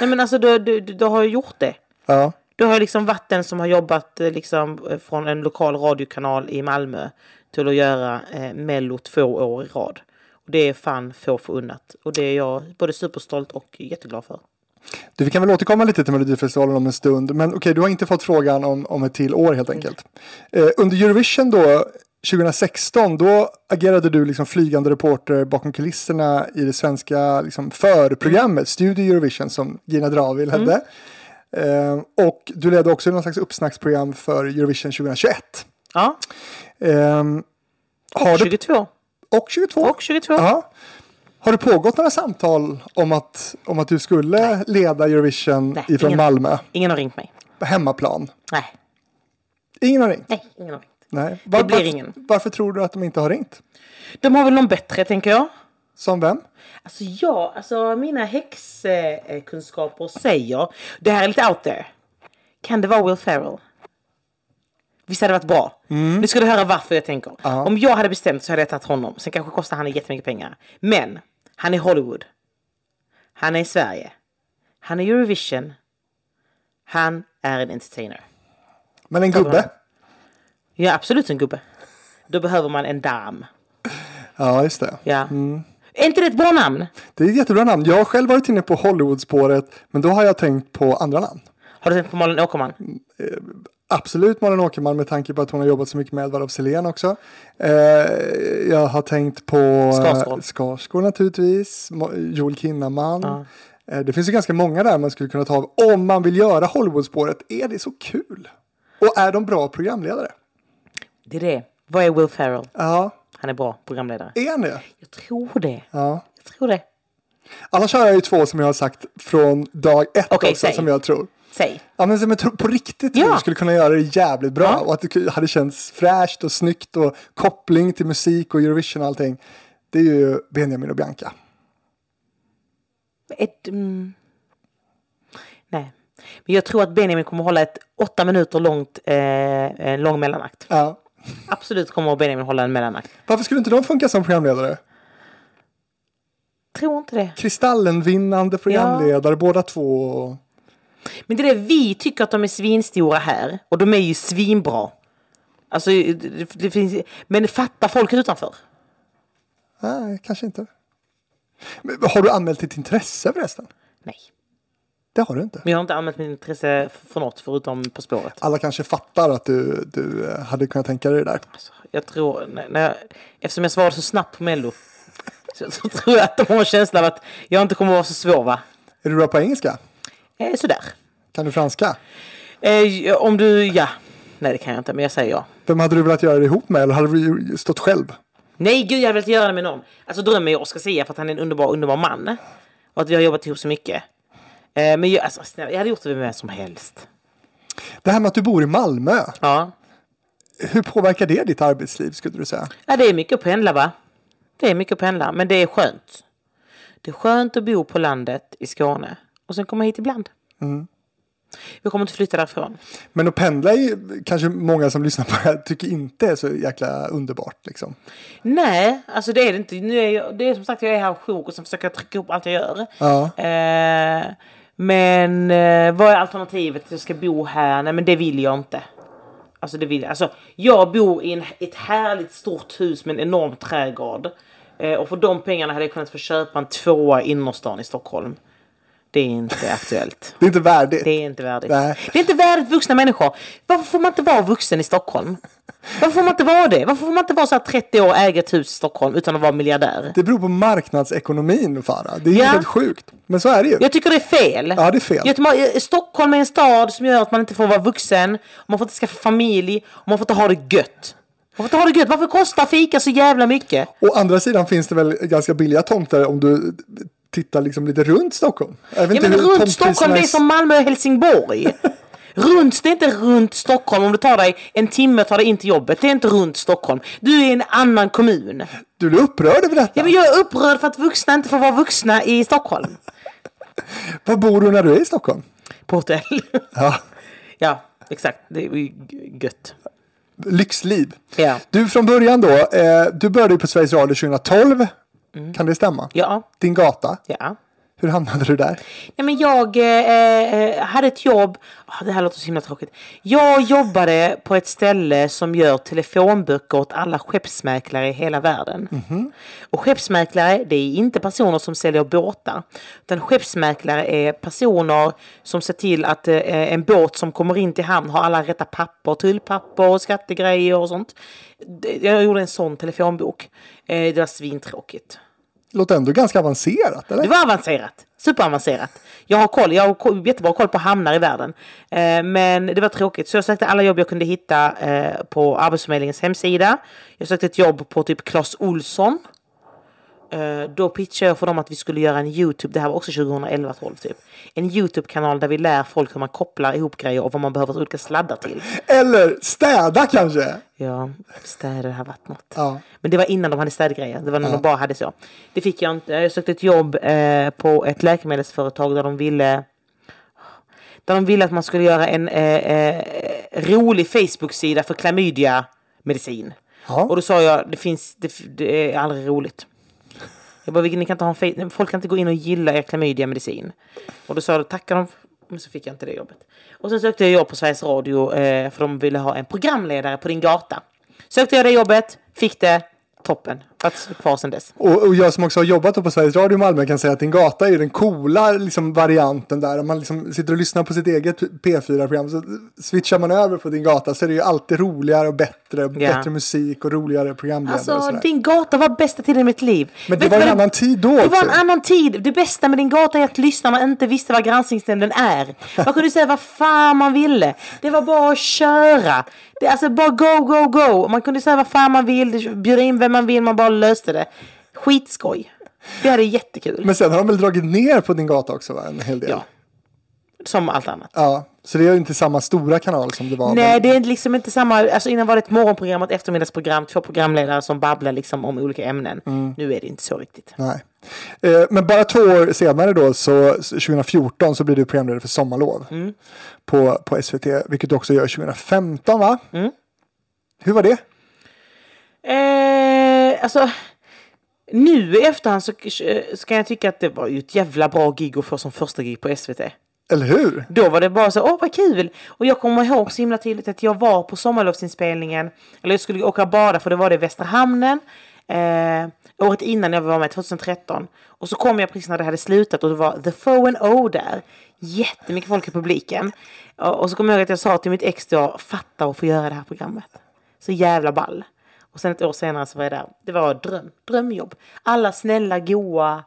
Nej men alltså då, då, då har jag gjort det. Ja. Då har jag liksom varit den som har jobbat eh, liksom eh, från en lokal radiokanal i Malmö till att göra eh, Mello två år i rad. Och det är fan få förunnat. Och det är jag både superstolt och jätteglad för. Du, vi kan väl återkomma lite till Melodifestivalen om en stund. Men okej, du har inte fått frågan om, om ett till år helt enkelt. Eh, under Eurovision då, 2016, då agerade du liksom flygande reporter bakom kulisserna i det svenska liksom, förprogrammet Studio Eurovision som Gina Dravil Mm. hade. Eh, och du ledde också någon slags uppsnacksprogram för Eurovision 2021. Ja, Ehm, har det, 22. och 22. Och 22. Ja. Har det pågått några samtal om att, om att du skulle leda Eurovision Nej, ifrån ingen. Malmö? Ingen har ringt mig. på hemmaplan. Nej, Ingen har ringt. nej, ingen har ringt. Nej. Var- blir varför, ingen. Varför tror du att de inte har ringt? De har väl någon bättre tänker jag. Som vem? Alltså ja, alltså mina häxkunskaper säger, det här är lite out there. Kan det vara Will Ferrell? Visst hade det varit bra? Nu ska du höra varför jag tänker. Om jag hade bestämt så hade jag tagit honom. Sen kanske kostar han jättemycket pengar. Men, han är Hollywood. Han är i Sverige. Han är Eurovision. Han är en entertainer. Men en honom. gubbe? Jag är absolut en gubbe. Då behöver man en dam. Ja, just det. Ja. Är inte det ett bra namn? Det är ett jättebra namn. Jag har själv varit inne på Hollywoodspåret, men då har jag tänkt på andra namn. Har du tänkt på Malin Åkerman? Absolut Malin Åkerman med tanke på att hon har jobbat så mycket med Edvard af Sillén också. Eh, jag har tänkt på eh, Skarsgård. Skarsgård naturligtvis, Mo- Joel Kinnaman. Eh, det finns ju ganska många där man skulle kunna ta av. Om man vill göra Hollywoodspåret, är det så kul? Och är de bra programledare? Det är det. Vad är Will Ferrell? Ja, Han är bra programledare. är han det? Jag tror det. Jag tror det. Annars har jag ju två som jag har sagt från dag ett Okej, också säg. som jag tror. Säg. Ja, men som jag tror på riktigt tror Ja. du skulle kunna göra det jävligt bra och att det ku- hade känts fräscht och snyggt och koppling till musik och Eurovision och allting. Det är ju Benjamin och Bianca. Ett, mm. Nej. Men jag tror att Benjamin kommer hålla ett åtta minuter långt eh, en lång mellanakt. Ja. Absolut kommer Benjamin hålla en mellanakt. Varför skulle inte de funka som programledare? Tror inte det. Kristallenvinnande programledare båda två. Men det är det vi tycker att de är svinstora här. Och de är ju svinbra. Alltså, det, det finns, men fattar folket utanför? Nej, kanske inte. Men, har du anmält ditt intresse förresten? Nej. Det har du inte. Men jag har inte använt mitt intresse för något förutom På spåret. Alla kanske fattar att du, du eh, hade kunnat tänka dig det där. Alltså, jag tror, när, när jag, eftersom jag svarade så snabbt på Mello så, så tror jag att de har en känsla av att jag inte kommer att vara så svår va? Är du bra på engelska? Eh, sådär. Kan du franska? Eh, om du, ja. Nej det kan jag inte men jag säger ja. Vem hade du velat göra det ihop med eller hade du ju stått själv? Nej gud jag hade velat göra det med någon. Alltså drömmer jag Oscar Zia för att han är en underbar, underbar man. Och att vi har jobbat ihop så mycket. Eh, men jag, alltså, snälla, jag hade gjort det med vem som helst. Det här med att du bor i Malmö, Ja. hur påverkar det ditt arbetsliv skulle du säga? ja, det är mycket att pendla va? Det är mycket att pendla men det är skönt. Det är skönt att bo på landet i Skåne och sen komma hit ibland. Jag kommer inte flytta därifrån. Men att pendla är ju kanske många som lyssnar på det här tycker inte är så jäkla underbart. Liksom. Nej, alltså det är det inte. Nu är jag, det är som sagt jag är här sjuk och sen försöker jag trycka upp allt jag gör. Eh, men eh, vad är alternativet? Jag ska bo här? Nej men det vill jag inte. Alltså det vill jag. Alltså, jag bor i en, ett härligt stort hus med en enorm trädgård. Eh, och för de pengarna hade jag kunnat få köpa en tvåa i innerstan i Stockholm. Det är inte aktuellt. Det är inte värdigt. Det är inte värdigt. Nej. Det är inte värdigt vuxna människor. Varför får man inte vara vuxen i Stockholm? Varför får man inte vara det? Varför får man inte vara så här 30 år och äga ett hus i Stockholm utan att vara miljardär? Det beror på marknadsekonomin, Farah. Det är Ja. helt sjukt. Men så är det ju. Jag tycker det är fel. Ja, det är fel. Jag tycker- Stockholm är en stad som gör att man inte får vara vuxen. Man får inte skaffa familj. Och man får inte ha det gött. Man får inte ha det gött. Varför kostar fika så jävla mycket? Å andra sidan finns det väl ganska billiga tomter om du tittar liksom lite runt Stockholm. Jag vet Ja, men hur runt tomtpriserna Stockholm, det är som Malmö och Helsingborg. runt, det är inte runt Stockholm. Om du tar dig en timme och tar dig in till jobbet. Det är inte runt Stockholm. Du är i en annan kommun. Du blir upprörd över detta. Ja, men jag är upprörd för att vuxna inte får vara vuxna i Stockholm. Var bor du när du är i Stockholm? På hotell. Ja. ja, exakt. Det är ju gött. Lyxliv. Ja. Du från början då, eh, du började ju på Sveriges Radio 2012. Kan det stämma? Mm. Ja. Din gata, Ja. hur hamnade du där? Nej, men jag eh, eh, hade ett jobb. Ah, det här låter så himla tråkigt. Jag jobbade på ett ställe som gör telefonböcker åt alla skeppsmäklare i hela världen. Och skeppsmäklare, det är inte personer som säljer båtar. Utan skeppsmäklare är personer som ser till att eh, en båt som kommer in till hamn har alla rätta papper, tullpapper och skattegrejer och sånt. Det- Jag gjorde en sån telefonbok. Eh, det var svintråkigt. Låter ändå ganska avancerat, eller? Det var avancerat. Superavancerat. Jag har koll. Jag har ko- jättebra koll på hamnar i världen. Eh, men det var tråkigt. Så jag sökte alla jobb jag kunde hitta eh, på Arbetsförmedlingens hemsida. Jag sökte ett jobb på typ Clas Olsson. Eh, då pitchade jag för dem att vi skulle göra en YouTube. Det här var också 2011-12 typ. En YouTube-kanal där vi lär folk hur man kopplar ihop grejer och vad man behöver olika sladdar till. Eller städa kanske? Ja, städa det här vattnet. Ja. Men det var innan de hade städgrejer. Det var när de bara hade så. Det fick jag inte. Jag sökte ett jobb eh, på ett läkemedelsföretag där de ville där de ville att man skulle göra en eh, eh, rolig Facebook-sida för klamydia-medicin. Ja. Och då sa jag, det finns, det, f- det är aldrig roligt. Jag bara, "Vilken- ni kan inte ha en fe- nej, folk kan inte gå in och gilla er klamydia-medicin. Och då sa de, tackar de, men så fick jag inte det jobbet. Och sen sökte jag jobb på Sveriges Radio, eh, för de ville ha en programledare på din gata. Sökte jag det jobbet, fick det, toppen. Varit kvar sedan dess. Och, och jag som också har jobbat då på Sveriges Radio i Malmö kan säga att din gata är ju den coola liksom, varianten där. Om man liksom sitter och lyssnar på sitt eget P4-program så switchar man över på din gata så är det ju alltid roligare och bättre. Bättre musik och roligare programledare och Alltså, sådär. din gata var bästa tiden i mitt liv. Men det Vet var du en vad annan tid då Det var en också. annan tid. Det bästa med din gata är att lyssnarna inte visste vad granskningsnämnden är. Man kunde säga vad fan man ville. Det var bara att köra. Det, alltså bara go, go, go. Man kunde säga vad fan man vill, bjuda in vem man vill, man bara löste det. Skitskoj. Det här är jättekul. Men sen har de väl dragit ner på din gata också va? En hel del. Ja. Som allt annat. Ja, så det är ju inte samma stora kanal som det var. Nej, men- det är liksom inte samma. Alltså innan var det ett morgonprogram och ett eftermiddagsprogram. Två programledare som babblar liksom om olika ämnen. Mm. Nu är det inte så riktigt. Nej. Eh, Men bara två år senare då, så, så 2014, så blir du programledare för Sommarlov Mm. på, på SVT, vilket du också gör 2015 va? Mm. Hur var det? Eh, alltså, nu i efterhand så, så kan jag tycka att det var ju ett jävla bra gig att få som första gig på SVT. Eller hur? Då var det bara så, åh vad kul! Och jag kommer ihåg så himla tydligt att jag var på sommarlovsinspelningen, eller jag skulle åka och bada för det var det i Västra Hamnen. Eh, året innan jag var med, 2013. Och så kom jag precis när det hade slutat och det var The Foe and O där. Jättemycket folk i publiken. Och och så kommer jag ihåg att jag sa till mitt ex då, fatta att få göra det här programmet. Så jävla ball. Och sen ett år senare så var jag där. Det var dröm, drömjobb. Alla snälla, goa.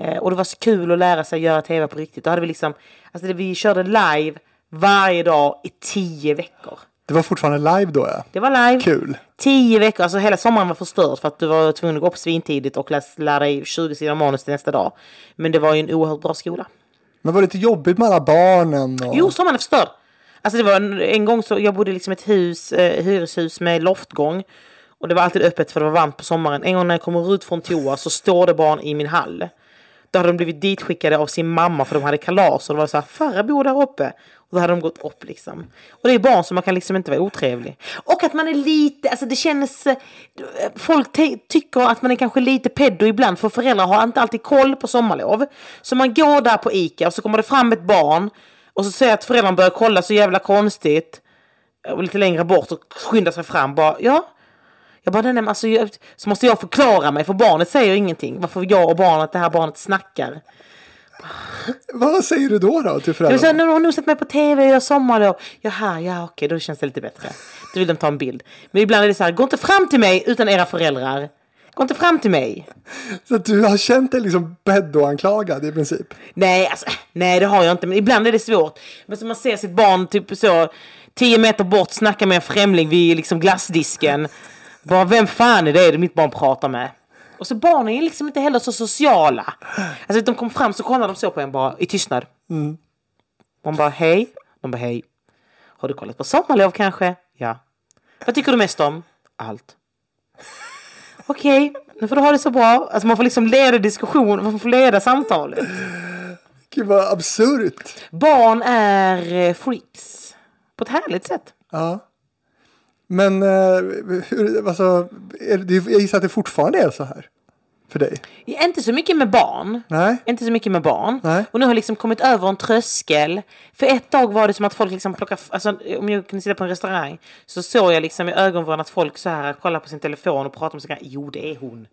Eh, och det var så kul att lära sig göra tv på riktigt. Då hade vi liksom, alltså det, vi körde live varje dag i tio veckor. Det var fortfarande live då ja. Det var live. Kul. Tio veckor, alltså hela sommaren var förstörd för att du var tvungen att gå upp svintidigt och läs, lära dig 20 sidor manus till nästa dag. Men det var ju en oerhört bra skola. Men var det inte jobbigt med alla barnen? Och... Jo, sommaren är förstörd. Alltså det var en, en gång så jag bodde i liksom ett hus, eh, hyreshus med loftgång. Och det var alltid öppet för det var varmt på sommaren. En gång när jag kommer ut från toa så står det barn i min hall. Då hade de blivit ditskickade av sin mamma för de hade kalas och det var så här, Farah bor där uppe. Och då hade de gått upp liksom. Och det är barn som man kan liksom inte vara otrevlig. Och att man är lite, alltså det känns, eh, folk te- tycker att man är kanske lite peddo ibland för föräldrar har inte alltid koll på sommarlov. Så man går där på Ica och så kommer det fram ett barn och så ser jag att föräldrarna börjar kolla så jävla konstigt. och lite längre bort och skyndar sig fram. Bara, ja. Jag bara, nej, nej, men alltså, jag, så måste jag förklara mig för barnet säger ingenting. Varför jag och barnet, det här barnet snackar. Vad säger du då, då till Jag säger, föräldrarna? nu har hon nog sett mig på tv, jag har sommarlov. Jaha, ja okej, då känns det lite bättre. Då vill de ta en bild. Men ibland är det så här, gå inte fram till mig utan era föräldrar. Gå inte fram till mig. Så att du har känt dig liksom anklagad i princip? Nej, alltså, nej, det har jag inte. Men ibland är det svårt. Men som man ser sitt barn typ så, tio meter bort snacka med en främling vid liksom glassdisken. Bara, vem fan är det mitt barn pratar med? Och så barnen är liksom inte heller så sociala. Alltså de kom fram så kollar de så på en bara i tystnad. Man bara hej. De bara hej. Har du kollat på sommarlov kanske? Ja. Vad tycker du mest om? Allt. Okej, nu får du ha det så bra. Alltså man får liksom leda diskussionen, man får leda samtalet. Gud, vad absurt. Barn är eh, freaks. På ett härligt sätt. Ja. Men eh, hur, alltså, är, det- jag gissar att det fortfarande är så här för dig? Ja, Inte så mycket med barn. Nej? Inte så mycket med barn. Nej. Och nu har jag liksom kommit över en tröskel. För ett tag var det som att folk liksom plockade... Alltså, om jag kunde sitta på en restaurang så såg jag liksom i ögonvrån att folk så här kollade på sin telefon och pratade om sig. Jo, det är hon.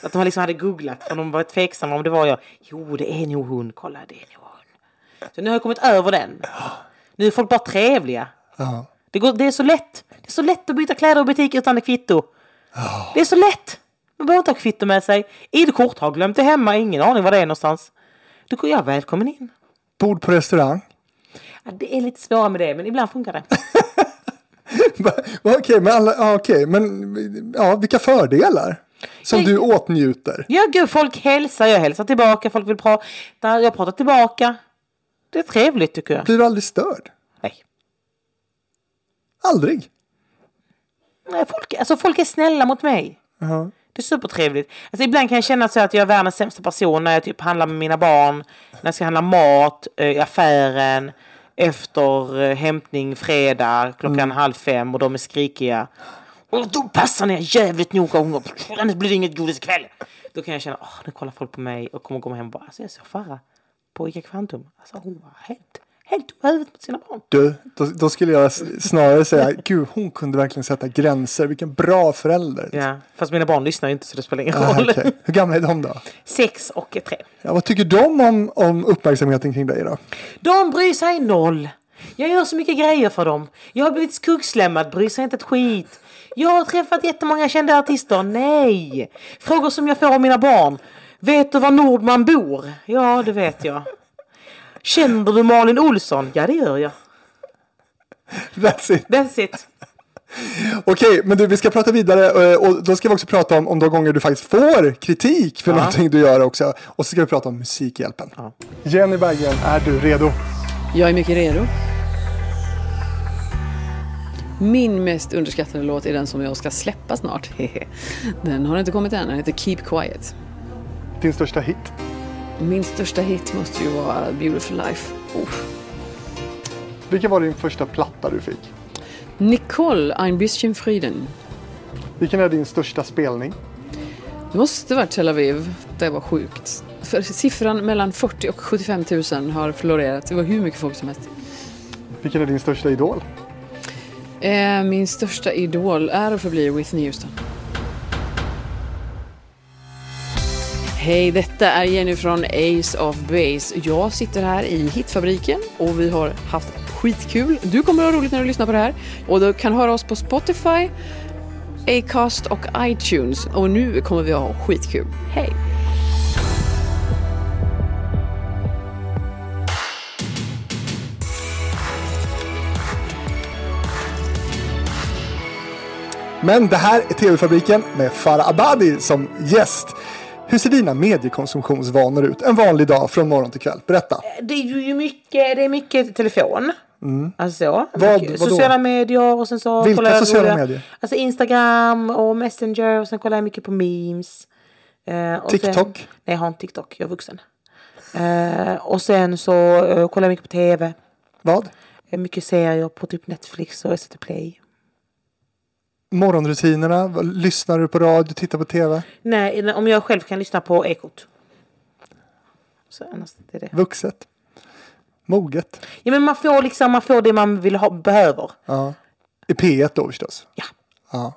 Så, att de liksom hade googlat och de var tveksamma om det var jag. Jo, det är nog hon. Kolla, det är nog hon. Så nu har jag kommit över den. Nu är folk bara trevliga. Ja. Det, går, det är så lätt. Det är så lätt att byta kläder och butik utan ett kvitto. Det är så lätt. Man behöver inte ha kvitto med sig. ID-kort har glömt det hemma. Ingen aning var det är någonstans. Du går jag välkommen in. Bord på restaurang? Ja, det är lite svårare med det, men ibland funkar det. Va- Okej, men, alla, ja, okej, men ja, vilka fördelar som Jag- du åtnjuter? Ja, gud, folk hälsar. Jag hälsar tillbaka. Folk vill prata. Jag pratar tillbaka. Det är trevligt, tycker jag. Blir du aldrig störd? Nej. Aldrig? Nej, folk, alltså folk är snälla mot mig. Det är supertrevligt. Alltså, ibland kan jag känna så att jag är världens sämsta person när jag typ handlar med mina barn, när jag ska handla mat eh, i affären, efter eh, hämtning fredag klockan Mm. halv fem och de är skrikiga. Och då passar ni er jävligt noga ungar, annars blir det inget godis ikväll. Då kan jag känna, åh, nu kollar folk på mig och kommer komma hem och bara, alltså jag såg Farah på Ica Kvantum. Alltså hon var helt, helt dum i huvudet mot sina barn. Du, då, då skulle jag s- snarare säga, gud hon kunde verkligen sätta gränser, vilken bra förälder. Ja, fast mina barn lyssnar ju inte så det spelar ingen Ah, roll. okej. Hur gamla är de då? Sex och tre. Ja, vad tycker de om, om uppmärksamheten kring dig då? De bryr sig noll. Jag gör så mycket grejer för dem. Jag har blivit skuggslämmad, bryr sig inte ett skit. Jag har träffat jättemånga kända artister. Nej! Frågor som jag får av mina barn. Vet du var Nordman bor? Ja, det vet jag. Känner du Malin Olsson? Ja, det gör jag. That's it. That's it. Okej, men du, vi ska prata vidare eh, och då ska vi också prata om, om de gånger du faktiskt får kritik för någonting du gör också. Och så ska vi prata om Musikhjälpen. Jenny Berggren, är du redo? Jag är mycket redo. Min mest underskattade låt är den som jag ska släppa snart. Den har inte kommit än, den heter Keep Quiet. Din största hit? Min största hit måste ju vara Beautiful Life. Oh. Vilken var din första platta du fick? Nicole, Ein bisschen Frieden. Vilken är din största spelning? Det måste varit Tel Aviv. Det var sjukt. För siffran mellan 40 och 75 000 har florerat. Det var hur mycket folk som helst. Vilken är din största idol? Eh, min största idol är och förblir Whitney Houston. Hej, detta är Jenny från Ace of Base. Jag sitter här i Hitfabriken och vi har haft skitkul. Du kommer att ha roligt när du lyssnar på det här och du kan höra oss på Spotify, Acast och iTunes. Och nu kommer vi att ha skitkul. Hej! Men det här är TV-fabriken med Farah Abadi som gäst. Hur ser dina mediekonsumtionsvanor ut en vanlig dag från morgon till kväll? Berätta. Det är ju mycket, det är mycket telefon. Alltså, Mm. Vad- mycket vadå? sociala medier och sen så Vilka kollar jag sociala roliga- medier? Alltså Instagram och Messenger och sen kollar jag mycket på memes. Eh, och Sen, TikTok? nej, jag har inte TikTok, jag är vuxen. Eh, och sen så eh, kollar jag mycket på TV. Vad? Eh, Mycket serier på typ Netflix och SVT Play. Morgonrutinerna? Vad- Lyssnar du på radio? Tittar på TV? Nej, om jag själv kan lyssna på Ekot. Så annars det är det. Vuxet? Moget. Ja, men man får liksom man får det man vill ha, behöver. Ja. I P1 då förstås. Ja. Ja.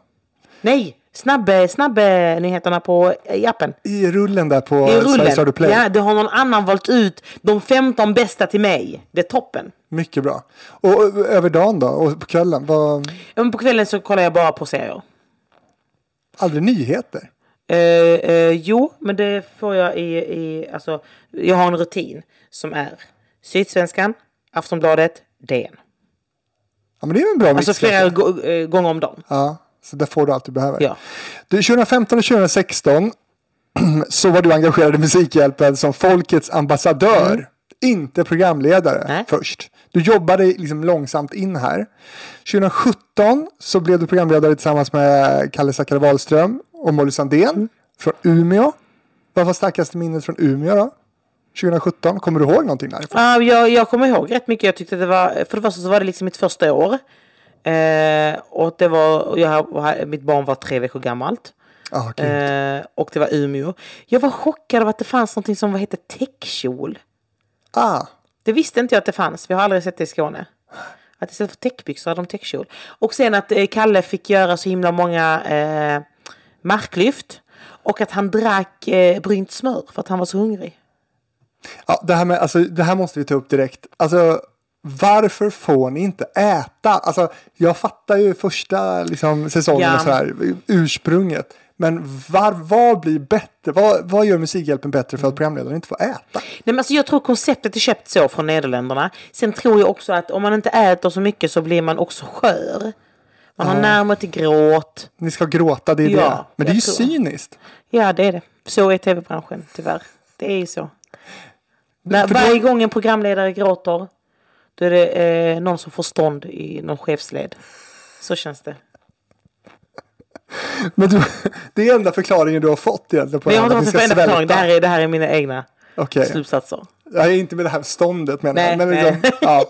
Nej, snabbe, snabbe nyheterna på eh, i appen. I rullen där på I Sveriges Radio rullen. Play. Ja, det har någon annan valt ut de 15 bästa till mig. Det är toppen. Mycket bra. Och ö- över dagen då? Och på kvällen? Var Ja, men på kvällen så kollar jag bara på serier. aldrig nyheter? Eh, eh, jo, men det får jag i, i... Alltså, jag har en rutin som är Sydsvenskan, Aftonbladet, DN. Ja, men det är ju en bra Alltså mix. flera gå- eh, gånger om dagen. Ja, så där får du allt du behöver. Ja. Du, 2015 och 2016 så var du engagerad i Musikhjälpen som folkets ambassadör. Inte programledare Mm. Nej. först. Du jobbade liksom långsamt in här. 2017 så blev du programledare tillsammans med Kalle Zackari Wahlström och Molly Sandén Mm. från Umeå. Vad var starkaste minnet från Umeå då? 2017, kommer du ihåg någonting därifrån? Ja, jag, jag kommer ihåg rätt mycket. Jag tyckte det var, för det första så var det liksom mitt första år. Eh, och det var, och jag, och mitt barn var tre veckor gammalt. Ah, okej. Eh, och det var Umeå. Jag var chockad av att det fanns någonting som vad hette täckkjol. ah, Det visste inte jag att det fanns. Vi har aldrig sett det i Skåne. Att istället för täckbyxor hade de täckkjol. Och sen att eh, Kalle fick göra så himla många eh, marklyft. Och att han drack eh, brynt smör för att han var så hungrig. Ja, det, här med, alltså, det här måste vi ta upp direkt. Alltså, varför får ni inte äta? Alltså, jag fattar ju första liksom, säsongen Ja. och sådär, ursprunget. Men var, vad blir bättre? Vad, vad gör Musikhjälpen bättre Mm. för att programledaren inte får äta? Nej, men alltså jag tror konceptet är köpt så från Nederländerna. Sen tror jag också att om man inte äter så mycket så blir man också skör. Man har närmare till gråt. Ni ska gråta, det är Ja, det. Men det är ju jag tror. cyniskt. Ja, det är det. Så är tv-branschen tyvärr. Det är ju så. När, För då- varje gång en programledare gråter, då är det eh, någon som får stånd i någon chefsled. Så känns det. Men du, det är enda förklaringen du har fått egentligen på Men jag har här, inte att fått ni en ska enda förklaring. Det svälta. här är, det här är mina egna Okej. slutsatser. Jag är inte med det här ståndet menar jag. Nej, Men, nej. liksom, ja.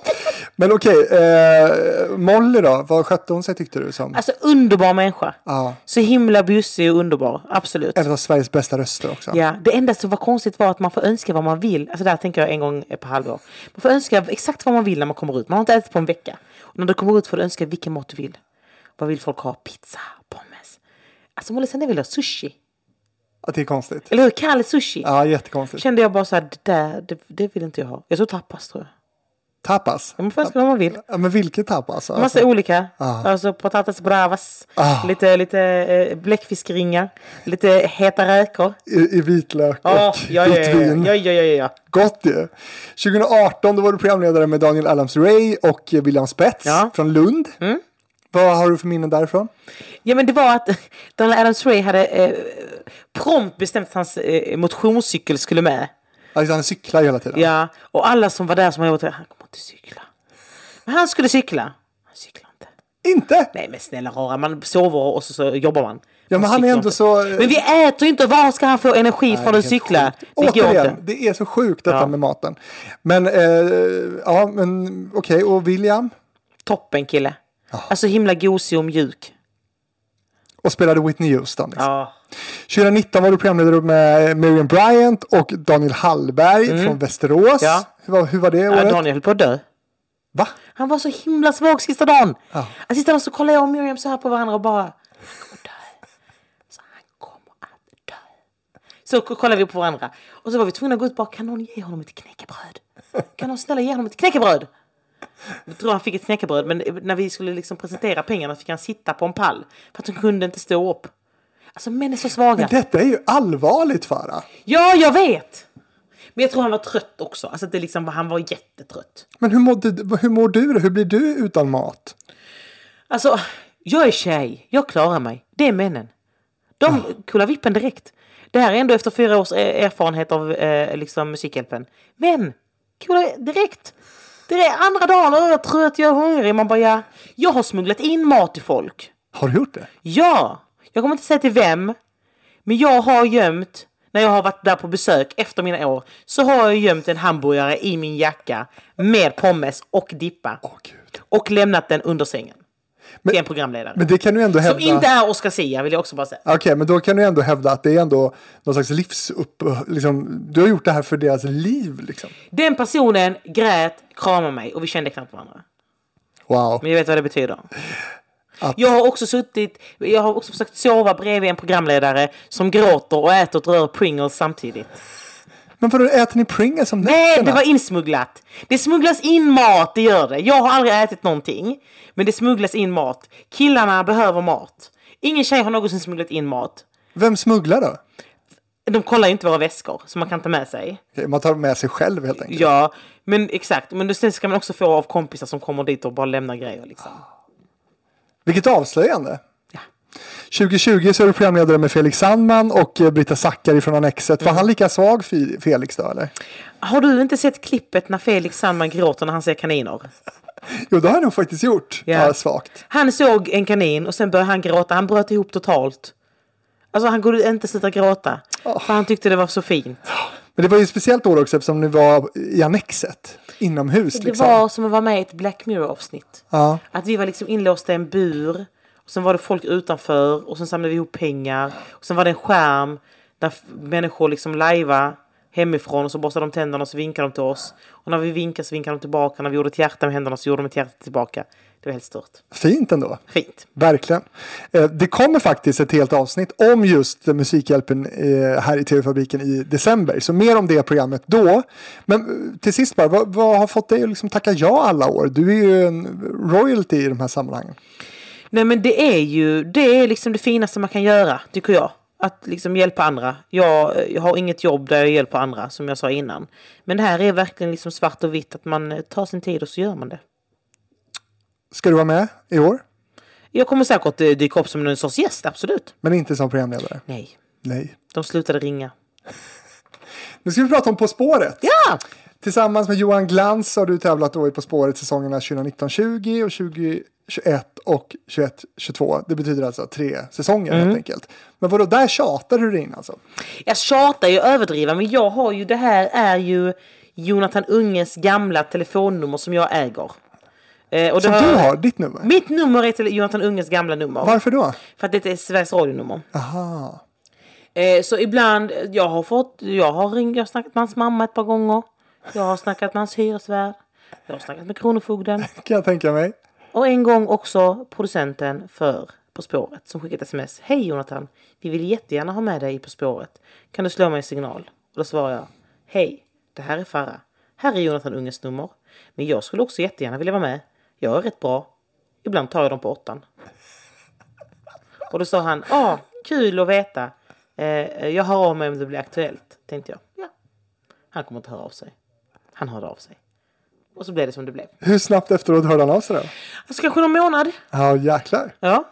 men okej, eh, Molly då? Vad skötte hon sig tyckte du? Som? Alltså underbar människa. Ja. Så himla bussig och underbar. Absolut. En av Sveriges bästa röster också. Ja, det enda som var konstigt var att man får önska vad man vill. Alltså där tänker jag en gång per halvår. Man får önska exakt vad man vill när man kommer ut. Man har inte ätit på en vecka. Och när du kommer ut får du önska vilken mat du vill. Vad vill folk ha? Pizza, pommes. Alltså Molly Sandén vill ha sushi. Att det är konstigt. Eller hur? Kall sushi. Ja, jättekonstigt. Kände jag bara så här, det där, det, det vill inte jag ha. Jag tror tapas tror jag. Tapas? Men Man får önska vad man vill. Ja, men vilket tapas? Massa Alltså, olika. Alltså patatas bravas. Ah. Lite, lite eh, bläckfiskringar. Lite heta räkor. i, I vitlök och Ja, ja, ja, vitt ja, vin. ja, ja, ja, ja. Gott ju. 2018 då var du programledare med Daniel Adams Ray och eh, William Spets Ja. Mm. från Lund. Vad har du för minnen därifrån? Ja men det var att Donald Adams Ray hade eh, prompt bestämt att hans eh, motionscykel skulle med. Alltså, han cyklar ju hela tiden. Ja, och alla som var där som har jobbat där, han kommer inte cykla. Men han skulle cykla. Han cyklar inte. Inte? Nej men snälla rara, man sover och så, så jobbar man. Ja, men han är cyklar ändå inte. så- eh, Men vi äter ju inte, var ska han få energi från att helt cykla? sjukt. Det går inte. Återigen, det är så sjukt detta Ja. med maten. Men, eh, ja, men okej, och William? Toppen kille. Alltså himla gosig och mjuk. Och spelade Whitney Houston. Liksom. Ja. 2019 var du programledare med Miriam Bryant och Daniel Hallberg från Västerås. Mm. Ja. Hur, var, hur var det året? Ja, Daniel höll på att dö. Va? Han var så himla svag sista dagen. Alltså, sista dagen så kollade jag och Miriam så här på varandra och bara... Han kommer att dö. Så han kommer att dö. Så k- kollade vi på varandra. Och så var vi tvungna att gå ut och bara, kan någon ge honom ett knäckebröd? Kan någon snälla ge honom ett knäckebröd? Jag tror han fick ett knäckebröd, men när vi skulle liksom presentera pengarna fick han sitta på en pall. För att han kunde inte stå upp. Alltså män är så svaga. Men detta är ju allvarligt Farah. Ja, jag vet! Men jag tror han var trött också. Alltså att det liksom, han var jättetrött. Men hur, mådde, hur mår du? då? Hur blir du utan mat? Alltså, jag är tjej. Jag klarar mig. Det är männen. De kullar vippen direkt. Det här är ändå efter fyra års eh, erfarenhet av eh, liksom Musikhjälpen. Men, kullar direkt. Det är andra dagen och jag är trött, jag är hungrig. Man bara, ja. Jag har smugglat in mat till folk. Har du gjort det? Ja, jag kommer inte säga till vem. Men jag har gömt, när jag har varit där på besök efter mina år, så har jag gömt en hamburgare i min jacka med pommes och dippa. Gud. Och lämnat den under sängen. till en programledare. Men det kan du ändå hävda. Som inte är Oscar Zia, vill jag också bara säga. Okej, men då kan du ändå hävda att det är ändå någon slags livsupp... Liksom, du har gjort det här för deras liv liksom. Den personen grät, kramade mig och vi kände knappt varandra. Wow. Men jag vet vad det betyder. Jag har också suttit, jag har också försökt sova bredvid en programledare som gråter och äter ett rör Pringles samtidigt. Men vadå, äter ni Pringles om Nej, nätterna? det var insmugglat. Det smugglas in mat, det gör det. Jag har aldrig ätit någonting. Men det smugglas in mat. Killarna behöver mat. Ingen tjej har någonsin smugglat in mat. Vem smugglar då? De kollar ju inte våra väskor som man kan ta med sig. Okej, Man tar med sig själv helt enkelt. Ja, men exakt. Men då- sen ska man också få av kompisar som kommer dit och bara lämnar grejer liksom. Vilket avslöjande. 2020 så är du programledare med Felix Sandman och eh, Britta Zackari från Annexet. Mm. Var han lika svag Fi- Felix då eller? Har du inte sett klippet när Felix Sandman gråter när han ser kaniner? Jo, det har han nog faktiskt gjort. Ja. Ja, svagt. Han såg en kanin och sen började han gråta. Han bröt ihop totalt. Alltså han kunde inte sluta gråta. För han tyckte det var så fint. Men det var ju ett speciellt år också eftersom ni var i Annexet. Inomhus Det liksom. var som att vara med i ett Black Mirror-avsnitt. Ja. Att vi var liksom inlåsta i en bur. Och sen var det folk utanför och sen samlade vi ihop pengar. Och sen var det en skärm där f- människor liksom lajva hemifrån och så borstade de tänderna och så vinkade de till oss. Och när vi vinkade så vinkade de tillbaka. När vi gjorde ett hjärta med händerna så gjorde de ett hjärta tillbaka. Det var helt stört. Fint ändå. Fint. Verkligen. Eh, Det kommer faktiskt ett helt avsnitt om just eh, Musikhjälpen eh, här i TV-fabriken i december. Så mer om det programmet då. Men eh, till sist bara, vad, vad har fått dig att liksom tacka ja alla år? Du är ju en royalty i de här sammanhangen. Nej men det är ju det är liksom det finaste man kan göra tycker jag. Att liksom hjälpa andra. Jag, eh, jag har inget jobb där jag hjälper andra som jag sa innan. Men det här är verkligen liksom svart och vitt att man eh, tar sin tid och så gör man det. Ska du vara med i år? Jag kommer säkert eh, dyka upp som någon sorts gäst, absolut. Men inte som programledare? Nej, Nej. de slutade ringa. Nu ska vi prata om På spåret. Ja! Tillsammans med Johan Glans har du tävlat då i På spåret säsongerna 2019-20 och 2021 och 21-22. Det betyder alltså tre säsonger Mm. helt enkelt. Men vadå, där tjatar du dig in alltså? Jag tjatar ju överdriva men jag har ju det här är ju Jonathan Unges gamla telefonnummer som jag äger. Eh, och det Som du har, ditt nummer? Mitt nummer är till Jonathan Unges gamla nummer. Varför då? Ah, För att det är Sveriges Radio-nummer. Eh, så ibland, eh, jag har fått, jag har ringt, jag har snackat med hans mamma ett par gånger. Jag har snackat med hans hyresvärd. Jag har snackat med Kronofogden. Kan jag tänka mig. Och en gång också producenten för På spåret som skickat sms. Hej Jonathan, vi vill jättegärna ha med dig i På spåret. Kan du slå mig en signal? Och då svarar jag. Hej, det här är Farah. Här är Jonathan Unges nummer. Men jag skulle också jättegärna vilja vara med. Jag är rätt bra. Ibland tar jag dem på åttan. Och då sa han. Ja, kul att veta. Eh, jag hör av mig om det blir aktuellt. Tänkte jag. Ja. Han kommer inte höra av sig. Han hörde av sig. Och så blev det som det blev. Hur snabbt efteråt hörde han av sig då? Alltså kanske någon månad. Ja, jäklar. Ja.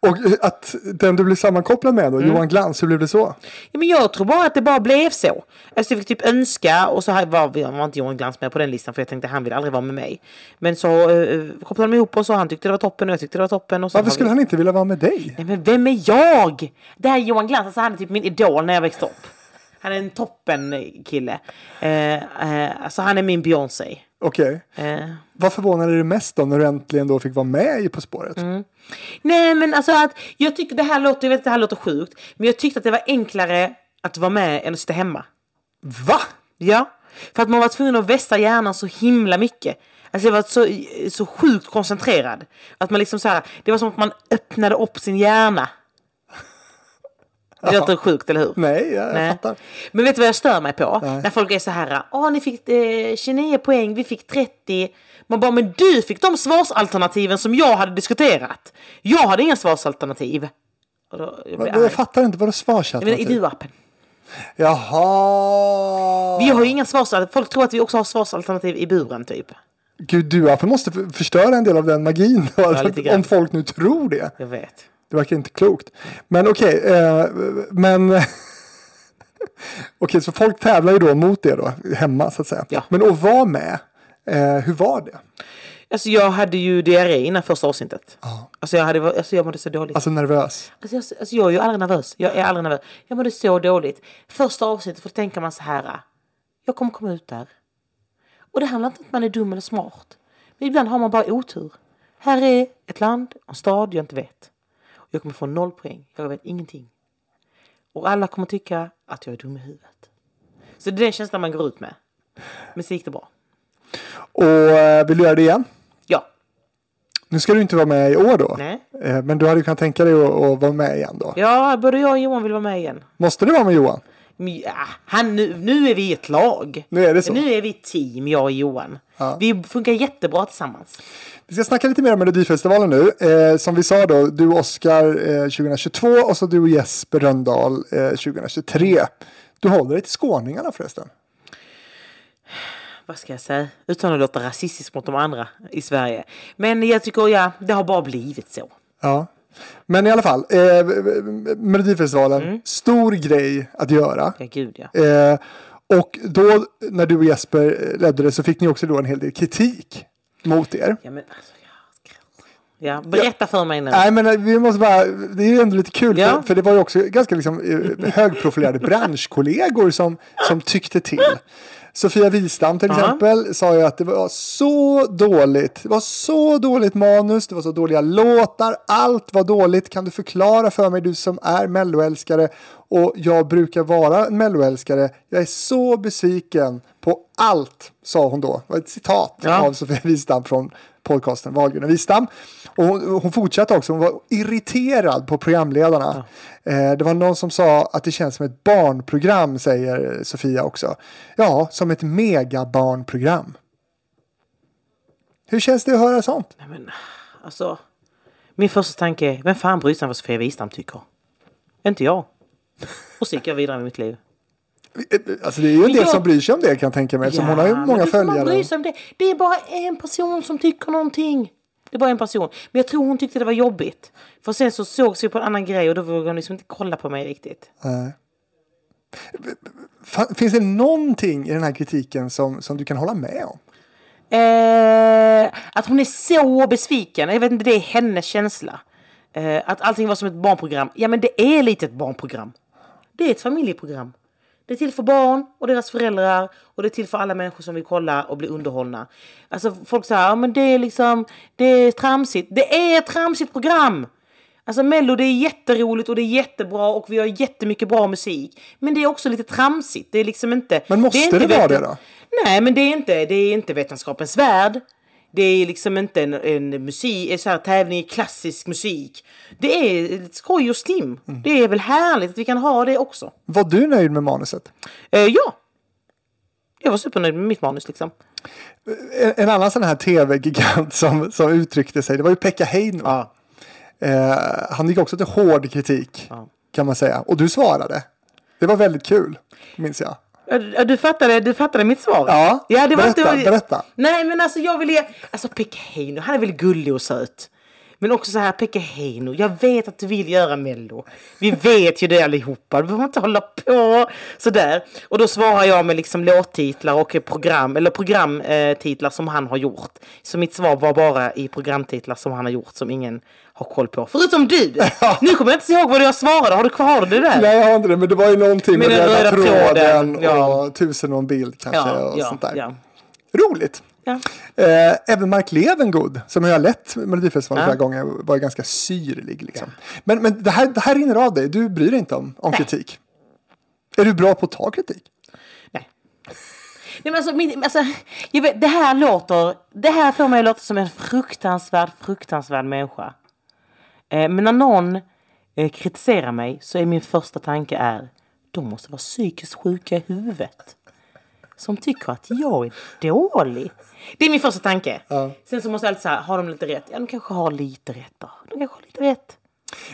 Och eh, att den du blev sammankopplad med då, Mm. Johan Glans, hur blev det så? Ja, men jag tror bara att det bara blev så. Alltså jag fick typ önska och så här var, vi- var inte Johan Glans med på den listan för jag tänkte han vill aldrig vara med mig. Men så eh, kopplade de ihop oss och han tyckte det var toppen och jag tyckte det var toppen. Och så Varför skulle han inte vilja vara med dig? Nej men vem är jag? Det här är Johan Glans, alltså han är typ min idol när jag växte upp. Han är en toppen kille. Eh, eh, alltså han är min Beyoncé. Okej. Eh. Vad förvånade dig mest då när du äntligen då fick vara med i På spåret? Mm. Nej men alltså att jag tycker det här låter, jag vet att det här låter sjukt. Men jag tyckte att det var enklare att vara med än att sitta hemma. Va? Ja, för att man var tvungen att vässa hjärnan så himla mycket. Alltså jag var så, så sjukt koncentrerad. Att man liksom så här, det var som att man öppnade upp sin hjärna. Det låter sjukt, eller hur? Nej, jag fattar. Men vet du vad jag stör mig på? När folk är så här, åh ni fick eh, 29 poäng, vi fick 30. Man bara, men du fick de svarsalternativen som jag hade diskuterat. Jag hade inga svarsalternativ. Och då, jag Men blir arg. Jag fattar inte, vadå Jag menar, svarsalternativ? I du-appen. typ. Jaha! Vi har ju inga svarsalternativ. Folk tror att vi också har svarsalternativ i buren typ. Gud, du appen måste f- förstöra en del av den magin. då, lite grann. om folk nu tror det. Jag vet. Det verkar inte klokt. Men okej, eh, men... Okej, så folk tävlar ju då mot det då, hemma så att säga. Ja. Men att vara med, eh, hur var det? Alltså jag hade ju diarré innan första avsnittet. Alltså, jag hade, alltså jag mådde så dåligt. Alltså nervös. Alltså, jag, alltså jag är ju aldrig nervös. Jag är aldrig nervös. Jag mådde så dåligt. Första avsnittet, för då tänker man så här. Jag kommer komma ut där. Och det handlar inte om att man är dum eller smart. Men ibland har man bara otur. Här är ett land, en stad jag inte vet. Jag kommer få noll poäng. Jag vet ingenting. Och alla kommer tycka att jag är dum i huvudet. Så det är den känslan man går ut med. Men så gick det bra. Och eh, vill du göra det igen? Ja. Nu ska du inte vara med i år då. Nej. Eh, Men du hade ju kunnat tänka dig att, att vara med igen då. Ja, både jag och Johan vill vara med igen. Måste du vara med Johan? Men, ja, ah, han, nu, nu är vi ett lag. Nu är det så. Nu är vi ett team, jag och Johan. Vi funkar jättebra tillsammans. Vi ska snacka lite mer om Melodifestivalen nu. Eh, som vi sa då, du Oscar eh, 2022 och så du och Jesper Röndahl eh, 2023. Du håller dig till skåningarna förresten. vad ska jag säga, utan att låta rasistisk mot de andra i Sverige. Men jag tycker, ja, det har bara blivit så. Ja. Men i alla fall, eh, Melodifestivalen, stor grej att göra. Ja, gud ja. Eh, och då när du och Jesper eh, ledde det så fick ni också då en hel del kritik mot er. ja, men, alltså, ja, skratt. ja berätta för mig nu. Nej men eh, vi måste bara, det är ju ändå lite kul Ja. för, för det var ju också ganska liksom, eh, högprofilerade branschkollegor som, som tyckte till. Sofia Wistam till exempel sa ju att det var så dåligt. Det var så dåligt manus, det var så dåliga låtar, allt var dåligt. Kan du förklara för mig du som är melloälskare och jag brukar vara en melloälskare. Jag är så besviken på allt, sa hon då. Det var ett citat Ja. av Sofia Wistam från podcasten Wahlgren och Wistam. Och hon, hon fortsatte också, hon var irriterad på programledarna. Eh, det var någon som sa att det känns som ett barnprogram, säger Sofia också. Ja, som ett megabarnprogram. Hur känns det att höra sånt? Nej, men, alltså, min första tanke är, vem fan bryr sig om vad Sofia Wistam tycker? Inte jag. Och så gick jag vidare med mitt liv. Eh, Alltså det är ju en Men del jag- som bryr sig om det kan jag tänka mig. Eftersom hon har ju men många hur kan man bry följare. sig om det? det är bara en person som tycker någonting. Det är bara en person. Men jag tror hon tyckte det var jobbigt. För sen så sågs vi på en annan grej och då vågade hon liksom inte kolla på mig riktigt. Fa- Finns det någonting i den här kritiken som, som du kan hålla med om? Eh, att hon är så besviken. Jag vet inte, det är hennes känsla. Eh, att allting var som ett barnprogram. Ja, men det är lite ett barnprogram. Det är ett familjeprogram. Det är till för barn och deras föräldrar och det är till för alla människor som vill kolla och bli underhållna. Alltså folk säger, ja men det är liksom, det är tramsigt. Det är ett tramsigt program! Alltså Mello det är jätteroligt och det är jättebra och vi har jättemycket bra musik. Men det är också lite tramsigt. Det är liksom inte... Men måste är inte det vara det veten- då? Nej men det är inte, det är inte vetenskapens värld. Det är liksom inte en, en musik, en så här tävling i klassisk musik. Det är lite skoj och stim. Det är väl härligt att vi kan ha det också. Var du nöjd med manuset? Eh, ja. Jag var supernöjd med mitt manus liksom. En, en annan sån här tv-gigant som, som uttryckte sig, det var ju Pekka Heino. Ja. Eh, han gick också till hård kritik kan man säga. Och du svarade. Det var väldigt kul, minns jag. Ja, Du fattade, du fattade mitt svar? Ja. ja det var Berätta, inte... berätta. Nej men alltså jag ville... Alltså Pekka Heino, han är väl gullig och söt. Men också så här, Pekka Heino, jag vet att du vill göra Mello. Vi vet ju det allihopa, du behöver inte hålla på sådär. Och då svarar jag med liksom låttitlar och program, eller programtitlar som han har gjort. Så mitt svar var bara i programtitlar som han har gjort som ingen har koll på. Förutom du! Nu kommer jag inte ihåg vad jag svarade, har du kvar det där? Nej, jag har inte det, men det var ju någonting med, Med den röda röda tråden, tråden, ja. och tusen och en bild kanske. och sånt där. ja. Roligt! ja. Eh, även Mark Levengood, som jag har lett Melodifestivalen Ja. flera gånger, var ju ganska syrlig. Liksom. Men, men det, här, det här rinner av dig, du bryr dig inte om, om kritik. Är du bra på att ta kritik? Nej. Nej men alltså, min, alltså jag vet, det här låter, det här får mig att låta som en fruktansvärd, fruktansvärd människa. Eh, men när någon eh, kritiserar mig så är min första tanke är, de måste vara psykiskt sjuka i huvudet. Som tycker att jag är dålig. Det är min första tanke. Sen så måste jag alltid säga, har de lite rätt? Ja, de kanske har lite rätt då. De kanske har lite rätt.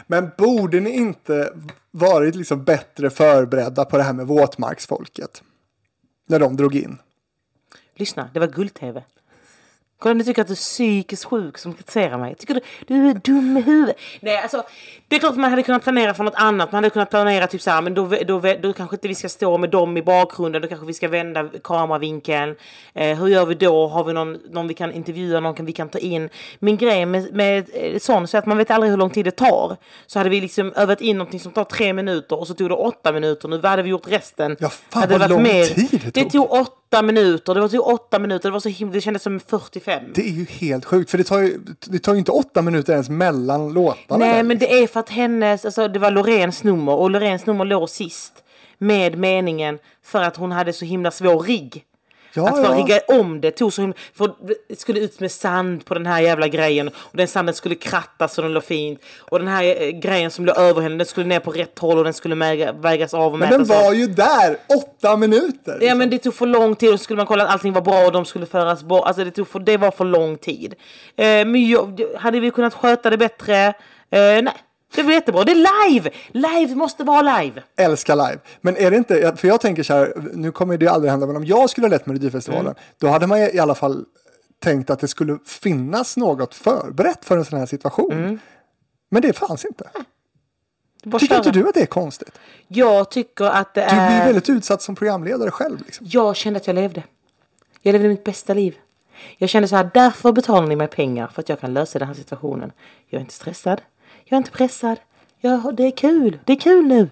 Men borde ni inte varit liksom bättre förberedda på det här med våtmarksfolket? När de drog in. Lyssna, det var guld-tv. Kolla, nu tycker jag att du är psykiskt sjuk som kritiserar mig. Tycker du, du är dum i huvudet? Nej, alltså, det är klart att man hade kunnat planera för något annat. Man hade kunnat planera typ så här, men då, då, då, kanske inte vi ska stå med dem i bakgrunden. Då kanske vi ska vända kameravinkeln. Eh, hur gör vi då? Har vi någon, någon vi kan intervjua, någon kan, vi kan ta in? Min grej med, med eh, sån, så att man vet aldrig hur lång tid det tar. Så hade vi liksom övat in någonting som tar tre minuter och så tog det åtta minuter. Nu vad hade vi gjort resten? Ja, fan, Hade det vad varit lång tid det det tog. tog åtta åtta minuter. Det var typ åtta minuter. Det, var så himla, det kändes som 45. Det är ju helt sjukt, för det tar ju, det tar ju inte åtta minuter ens mellan låtarna. Nej, där. men det är för att hennes, alltså det var Loreens nummer och Loreens nummer låg sist med meningen för att hon hade så himla svår rigg. Ja, att för att ja. rigga om det tog så himla... För det skulle ut med sand på den här jävla grejen och den sanden skulle krattas så den låg fint. Och den här eh, grejen som låg över henne den skulle ner på rätt håll och den skulle väga, vägas av och Men den mätas av. var ju där, åtta minuter! Ja men det tog för lång tid och så skulle man kolla att allting var bra och de skulle föras bort. Alltså det, tog för, det var för lång tid. Eh, men jag, hade vi kunnat sköta det bättre? Eh, nej. Det var jättebra. Det är live! Live måste vara live. Älskar live. Men är det inte, för jag tänker så här, nu kommer det ju aldrig hända, men om jag skulle ha lett Melodifestivalen, Mm. då hade man i alla fall tänkt att det skulle finnas något förberett för en sån här situation. Mm. Men det fanns inte. Det är bara att Tycker inte köra. du att det är konstigt? Jag tycker att det Du blir är... väldigt utsatt som programledare själv. Liksom. Jag kände att jag levde. Jag levde mitt bästa liv. Jag kände så här, därför betalar ni mig pengar för att jag kan lösa den här situationen. Jag är inte stressad. Jag är inte pressad. Jag, har- det är kul. Det är kul nu.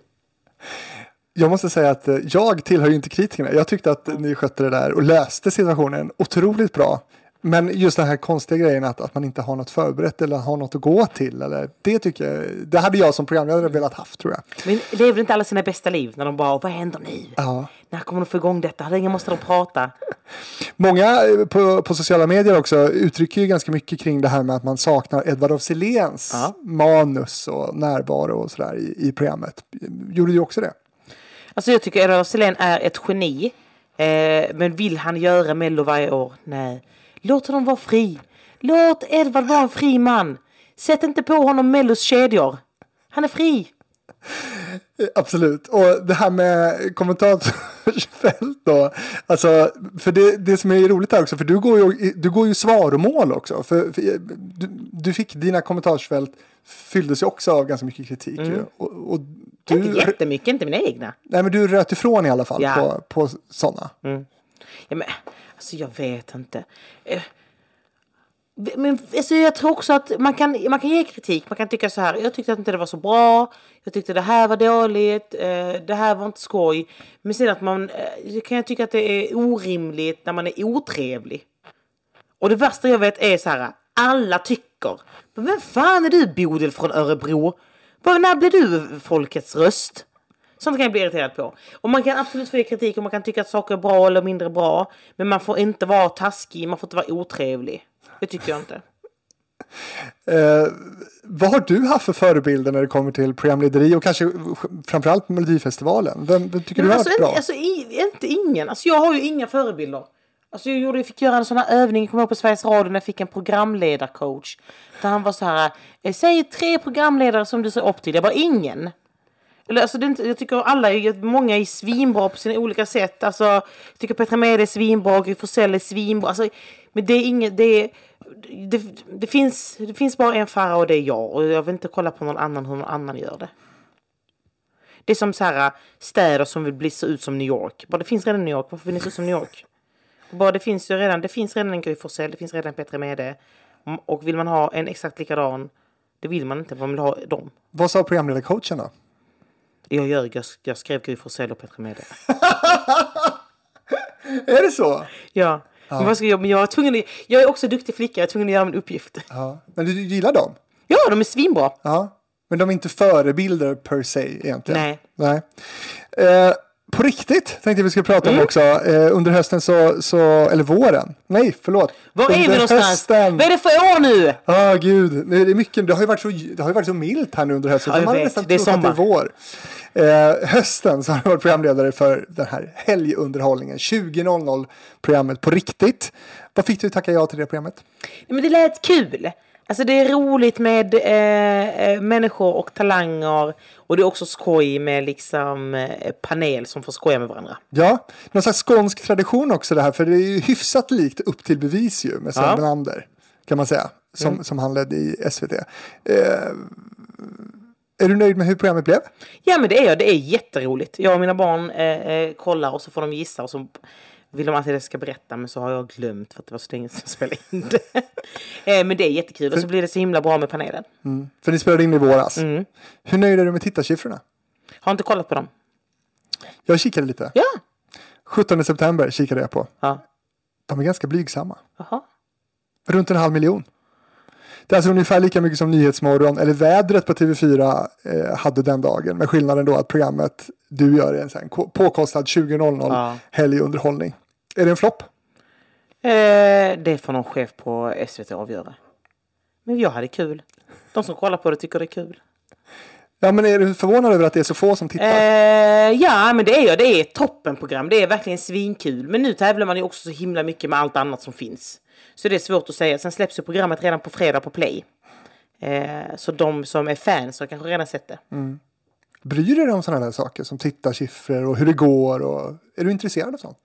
Jag måste säga att eh, jag tillhör ju inte kritikerna. Jag tyckte att ni skötte det där och löste situationen otroligt bra. Men just den här konstiga grejen att, att man inte har något förberett eller har något att gå till. Eller, det, tycker jag, det hade jag som programledare velat haft tror jag. Men lever inte alla sina bästa liv när de bara, vad händer nu? Ja. När kommer de få igång detta? Hur länge måste de prata? Många eh, på, på sociala medier också uttrycker ju ganska mycket kring det här med att man saknar Edvard af Siléns Ja. manus och närvaro och sådär i, i programmet. Gjorde du också det? Alltså jag tycker Edward af Sillén är ett geni. Eh, men vill han göra Mello varje år? Nej. Låt honom vara fri. Låt Edward vara en fri man. Sätt inte på honom Mellos kedjor. Han är fri. Absolut. Och det här med kommentarsfält då. Alltså, för det, det som är roligt här också, för du går ju, du går ju svaromål också. För, för, du, du fick dina kommentarsfält fylldes ju också av ganska mycket kritik. Mm. ju. Och, och Inte du, jättemycket, inte mina egna. nej, men du röt ifrån i alla fall Ja. på, på sådana. Ja, men, alltså jag vet inte. Eh, Men alltså, jag tror också att man kan, man kan ge kritik. Man kan tycka så här. Jag tyckte att inte det var så bra. Jag tyckte det här var dåligt. Eh, det här var inte skoj. Men sen att man eh, kan jag tycka att det är orimligt när man är otrevlig. Och det värsta jag vet är så här. Alla tycker. Men vem fan är du Bodil från Örebro? Var, när blir du folkets röst? Sånt kan jag bli irriterad på. Och man kan absolut få ge kritik och man kan tycka att saker är bra eller mindre bra. Men man får inte vara taskig, man får inte vara otrevlig. Det tycker jag inte. Eh, vad har du haft för förebilder när det kommer till programlederi och kanske sj- framförallt Melodifestivalen? Vem, vem tycker Men du har alltså, varit inte, bra? alltså, i, inte ingen. Alltså, jag har ju inga förebilder. Alltså, jag, gjorde, jag fick göra en sån här övning, jag kommer ihåg på Sveriges Radio när jag fick en programledarcoach. Där han var så här, eh, säg tre programledare som du ser upp till. Jag bara, ingen. Eller, alltså, det är inte, jag tycker alla, är- många är svinbra på sina olika sätt. Alltså, jag tycker Petra Mede är svinbra, Gry Forssell är svinbra. Alltså, men det är inget, det, är, det, det, finns, det finns bara en fara och det är jag. Och jag vill inte kolla på någon annan hur någon annan gör det. Det är som så här, äh, städer som vill bli så ut som New York. Bara det finns redan New York, varför vill ni se ut som New York? Bara det finns ju redan, det finns redan en Gry Forssell, det finns redan en Petra Mede. Mm, Och vill man ha en exakt likadan, det vill man inte, man vill ha dem. Vad sa programledarcoachen då? Jag ljög, jag, jag skrev Gry Forssell och Petra Mede. Är det så? Ja. Men vad ska jag, men jag, är tvungen att, jag är också duktig flicka, jag är tvungen att göra en uppgift. Ja. Men du gillar dem? Ja, de är svinbra. Ja, men de är inte förebilder per se egentligen. Nej. Nej. Eh, på riktigt tänkte jag vi skulle prata Mm. om också. Eh, under hösten så, så, eller våren. Nej, förlåt. Var under är vi någonstans? Hösten. Vad är det för år nu? Ja, gud. Nej, Det, är mycket, det, har ju varit så, det har ju varit så milt här nu under hösten. Ja, så jag man har vet. nästan Det är trott att det är sommar. vår. Eh, hösten så har jag varit programledare för den här helgunderhållningen. 20.00-programmet på riktigt. Vad fick du att tacka ja till det programmet? Ja, Men det lät kul. Alltså det är roligt med eh, eh, människor och talanger. Och det är också skoj med liksom eh, panel som får skoja med varandra. Ja, någon slags skånsk tradition också det här, för det är ju hyfsat likt Upp till bevis ju med Sven Ja. Melander, kan man säga, som, som han ledde i SVT. Eh, är du nöjd med hur programmet blev? Ja men det är jag, det är jätteroligt. Jag och mina barn eh, eh, kollar och så får de gissa och så vill de alltid att jag ska berätta men så har jag glömt för att det var så länge sedan jag spelade in det. eh, men det är jättekul och så blir det så himla bra med panelen. För ni spelade in i våras. Hur nöjd är du med tittarsiffrorna? Har inte kollat på dem. Jag kikade lite. Ja, 17 september kikade jag på. Ja. De är ganska blygsamma. Jaha. Runt en halv miljon. Det är alltså ungefär lika mycket som Nyhetsmorgon eller vädret på TV4 eh, hade den dagen. Med skillnaden då att programmet du gör är en sån här ko- påkostad 20.00 Ja. helgunderhållning. Är det en flopp? Eh, det får någon chef på SVT avgöra. Men jag hade kul. De som kollar på det tycker det är kul. Ja men är du förvånad över att det är så få som tittar? Eh, ja, men det är jag. Det är ett toppenprogram. Det är verkligen svinkul. Men nu tävlar man ju också så himla mycket med allt annat som finns. Så det är svårt att säga. Sen släpps ju programmet redan på fredag på Play. Eh, så de som är fans har kanske redan sett det. Bryr du dig om sådana där saker som tittarsiffror och hur det går? Och... Är du intresserad av sånt?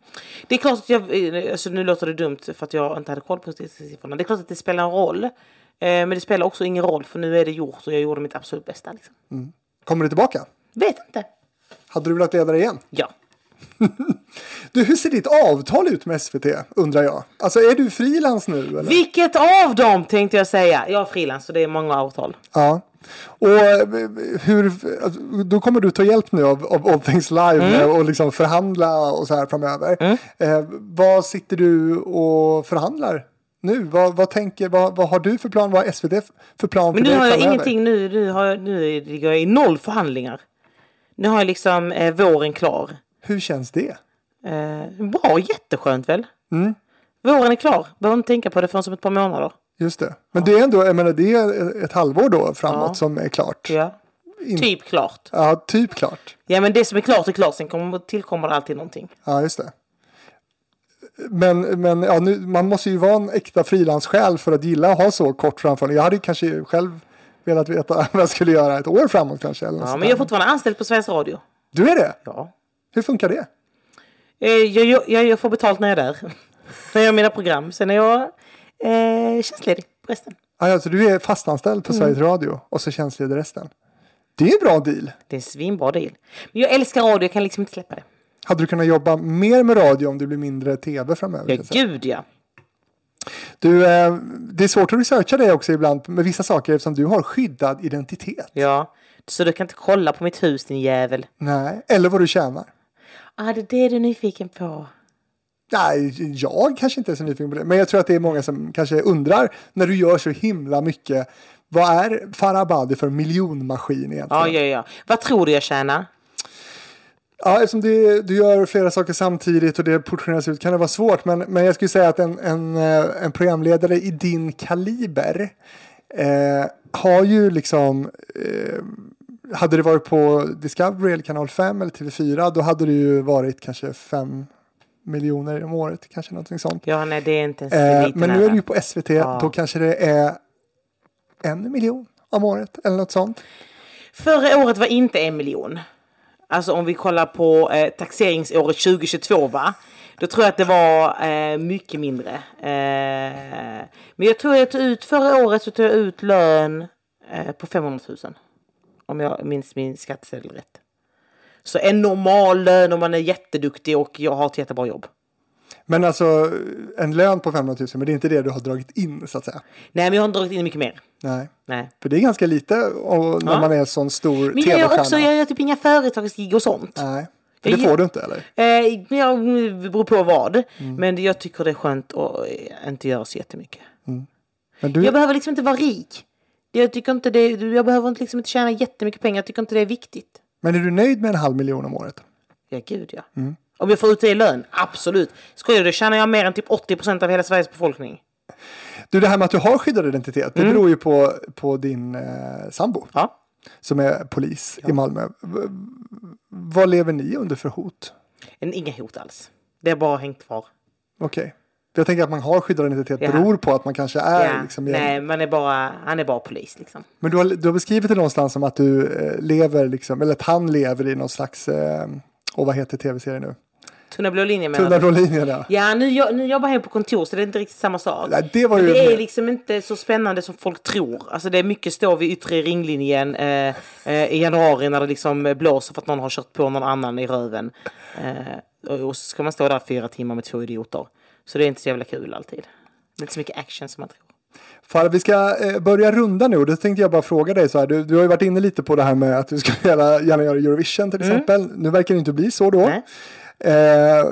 Det är klart att jag, eh, alltså nu låter det dumt för att jag inte hade koll på siffrorna. Det är klart att det spelar en roll. Eh, men det spelar också ingen roll för nu är det gjort och jag gjorde mitt absolut bästa. Liksom. Kommer du tillbaka? Vet inte. Hade du velat leda det igen? Ja. Du, hur ser ditt avtal ut med SVT undrar jag? Alltså är du frilans nu? Eller? Vilket av dem tänkte jag säga. Jag är frilans så det är många avtal. Ja. Och eh, hur, alltså, då kommer du ta hjälp nu av, av All Things Live Mm. eh, och liksom förhandla och så här framöver. Eh, vad sitter du och förhandlar nu? Vad, vad, tänker, vad, vad har du för plan? Vad har SVT f- för plan Men för nu dig har jag framöver? ingenting. Nu, nu, har jag, nu ligger jag i noll förhandlingar. Nu har jag liksom eh, våren klar. Hur känns det? Eh, bra, jätteskönt väl? Våren är klar. Behöver inte tänka på det förrän om ett par månader. Just det. Men det är ändå, jag menar, det är ett halvår då framåt Ja. som är klart. Ja. Ja. Typ klart. typ klart. Ja men det som är klart är klart. Sen kommer, tillkommer det alltid någonting. Ja, just det. Men, men ja, nu, man måste ju vara en äkta frilanssjäl för att gilla att ha så kort framför Jag hade ju kanske själv velat veta vad jag skulle göra ett år framåt kanske. Eller något Ja, sånt men jag där. är fortfarande anställd på Sveriges Radio. Du är det? Ja. Hur funkar det? Eh, Jag, jag, jag, jag får betalt när jag är där. när jag gör mina program. Sen är jag eh, tjänstledig på resten. Ah, Alltså, du är fastanställd på Mm. Sveriges Radio och så tjänstledig resten. Det är en bra deal. Det är en svinbra deal. Men jag älskar radio, jag kan liksom inte släppa det. Hade du kunnat jobba mer med radio om det blir mindre tv framöver? Ja, så att säga? gud ja. Du, eh, det är svårt att researcha dig också ibland med vissa saker eftersom du har skyddad identitet. Ja. Så du kan inte kolla på mitt hus din jävel. Nej, eller vad du tjänar. Ah, det är det du är nyfiken på. Nej, jag kanske inte är så nyfiken på det. Men jag tror att det är många som kanske undrar när du gör så himla mycket. Vad är Farah Abadi för miljonmaskin egentligen? Ja, ja, ja. Vad tror du jag tjänar? Ja, eftersom det, du gör flera saker samtidigt och det portioneras ut kan det vara svårt. Men, men jag skulle säga att en, en, eh, en programledare i din kaliber eh, har ju liksom... Eh, hade det varit på Discovery eller Kanal 5 eller TV4 då hade det ju varit kanske 5 miljoner om året, kanske någonting sånt. Ja, nej, det är inte ens Eh, lite men nu nära. är det ju på SVT, då kanske det är en miljon om året eller något sånt. Förra året var inte en miljon. Alltså om vi kollar på eh, taxeringsåret 2022 va? Då tror jag att det var eh, mycket mindre. Eh, men jag tror jag tog ut, förra året så tog jag ut lön eh, på 500 000. Om jag minns min skattsedel rätt. Så en normal lön om man är jätteduktig och jag har ett jättebra jobb. Men alltså en lön på 500 000, men det är inte det du har dragit in så att säga. Nej men jag har inte dragit in mycket mer. Nej. Nej. För det är ganska lite och, när Ja. man är en sån stor Men jag gör tv-stjärna. också, jag gör typ inga företagsgig och sånt. Nej, för det Jag- får du inte eller? Eh, men jag det beror på vad. Mm. Men jag tycker det är skönt att eh, inte göra så jättemycket. Mm. Men du, Jag behöver liksom inte vara rik. Jag, tycker inte det, jag behöver inte liksom inte tjäna jättemycket pengar. Jag tycker inte det är viktigt. men är du nöjd med en halv miljon om året? Ja, gud ja. Mm. Om jag får ut det i lön? Absolut. Skojar du? Tjänar jag mer än typ 80% av hela Sveriges befolkning? Du, det här med att du har skyddad identitet, det beror ju på, på din eh, sambo Mm. Ja. som är polis i Malmö. V- vad lever ni under för hot? En, inga hot alls. Det har bara hängt kvar. Okej. Jag tänker att man har skyddad identitet Ja. beror på att man kanske är ja. liksom, gäng- Nej, man är bara, han är bara polis liksom. Men du har, du har beskrivit det någonstans som att du eh, lever, liksom, eller att han lever i någon slags, eh, och vad heter tv-serien nu? Tunna blå linjen menar Tunna du? blå linjer, ja. alltså- Ja, nu, jo- nu jobbar jag på kontor så det är inte riktigt samma sak. Nej, det var Men ju det mer- är liksom inte så spännande som folk tror. Alltså det är mycket stå vid yttre ringlinjen eh, eh, i januari när det liksom blåser för att någon har kört på någon annan i röven. Eh, och, och så ska man stå där fyra timmar med två idioter. Så det är inte så jävla kul alltid. Det är inte så mycket action som man tror. Farah, vi ska eh, börja runda nu och då tänkte jag bara fråga dig så här. Du, du har ju varit inne lite på det här med att du skulle gärna, gärna göra Eurovision till exempel. Nu verkar det inte bli så då. Mm. Nej. Eh,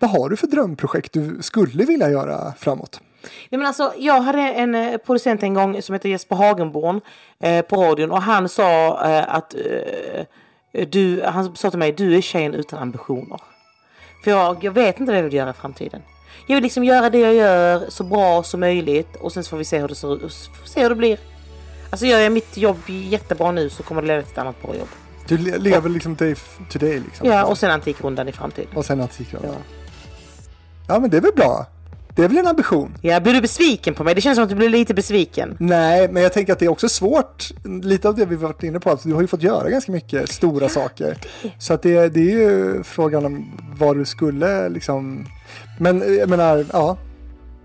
vad har du för drömprojekt du skulle vilja göra framåt? Nej, men alltså, jag hade en eh, producent en gång som hette Jesper Hagenborn eh, på radion och han sa eh, att eh, du, han sa till mig, du är tjejen utan ambitioner. För jag, jag vet inte vad jag vill göra i framtiden. Jag vill liksom göra det jag gör så bra som möjligt och sen så får vi se hur det ser ut, så får vi se hur det blir. Alltså gör jag mitt jobb jättebra nu så kommer det leda till ett annat bra jobb. Du le- lever liksom day f- today liksom. Ja, och sen Antikrundan i framtiden. Och sen antikrundan. Ja. Ja men det är väl bra. Det är väl en ambition. Ja, blir du besviken på mig? Det känns som att du blir lite besviken. Nej, men jag tänker att det är också svårt. Lite av det vi varit inne på, att du har ju fått göra ganska mycket stora saker. Så att det, det är ju frågan om vad du skulle liksom... Men eh, jag menar, ja.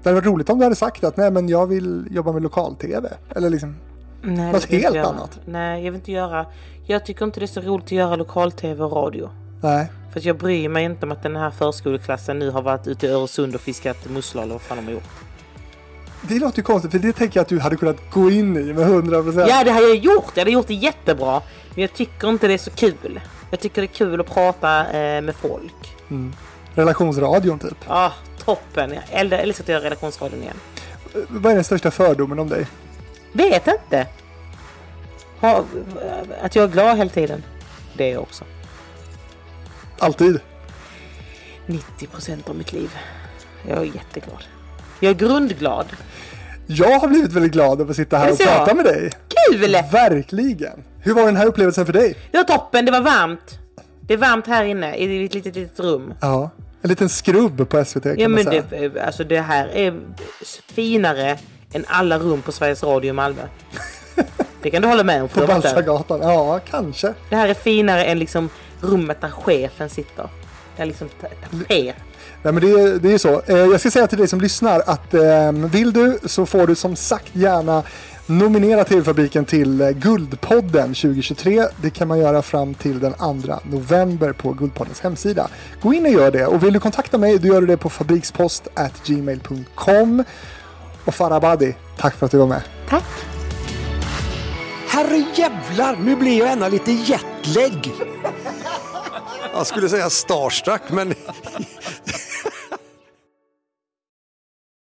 Det hade varit roligt om du hade sagt att nej, men jag vill jobba med lokal-tv. Eller liksom, Nej, Något det vill jag helt inte göra. annat. Nej, jag vill inte göra. Jag tycker inte det är så roligt att göra lokal-tv och radio. nej. För att jag bryr mig inte om att den här förskoleklassen nu har varit ute i Öresund och fiskat musslor eller vad fan de har gjort. Det låter ju konstigt, för det tänker jag att du hade kunnat gå in i med 100 procent. Ja, det har jag gjort. Jag hade gjort det jättebra. Men jag tycker inte det är så kul. Jag tycker det är kul att prata eh, med folk. Relationsradion typ. Ah, toppen. Jag äldre- älskar att göra relationsradion igen. Vad är den största fördomen om dig? Vet inte. Ha, att jag är glad hela tiden. Det är jag också. Alltid. 90 procent av mitt liv. Jag är jätteglad. Jag är grundglad. Jag har blivit väldigt glad över att sitta här Är det och så? prata med dig. Kul! Verkligen. Hur var den här upplevelsen för dig? Det var toppen, det var varmt. Det är varmt här inne i ditt litet, litet rum. Ja, en liten skrubb på SVT kan Ja man men säga. det, alltså det här är finare än alla rum på Sveriges Radio i Malmö. Det kan du hålla med om. På Flotte. Balsagatan. Ja, kanske. Det här är finare än liksom rummet där chefen sitter. Det är liksom ta- tapet. Nej, men det, är- det är ju så. Eh, Jag ska säga till dig som lyssnar att eh, vill du så får du som sagt gärna nominera TV-fabriken till eh, Guldpodden 2023. Det kan man göra fram till den 2 november på Guldpoddens hemsida. Gå in och gör det. Och vill du kontakta mig, då gör du det på fabrikspost.gmail.com. Och Farah Abadi, tack för att du var med. Herre jävlar, nu blir jag ena lite jetlag. Jag skulle säga starstruck, men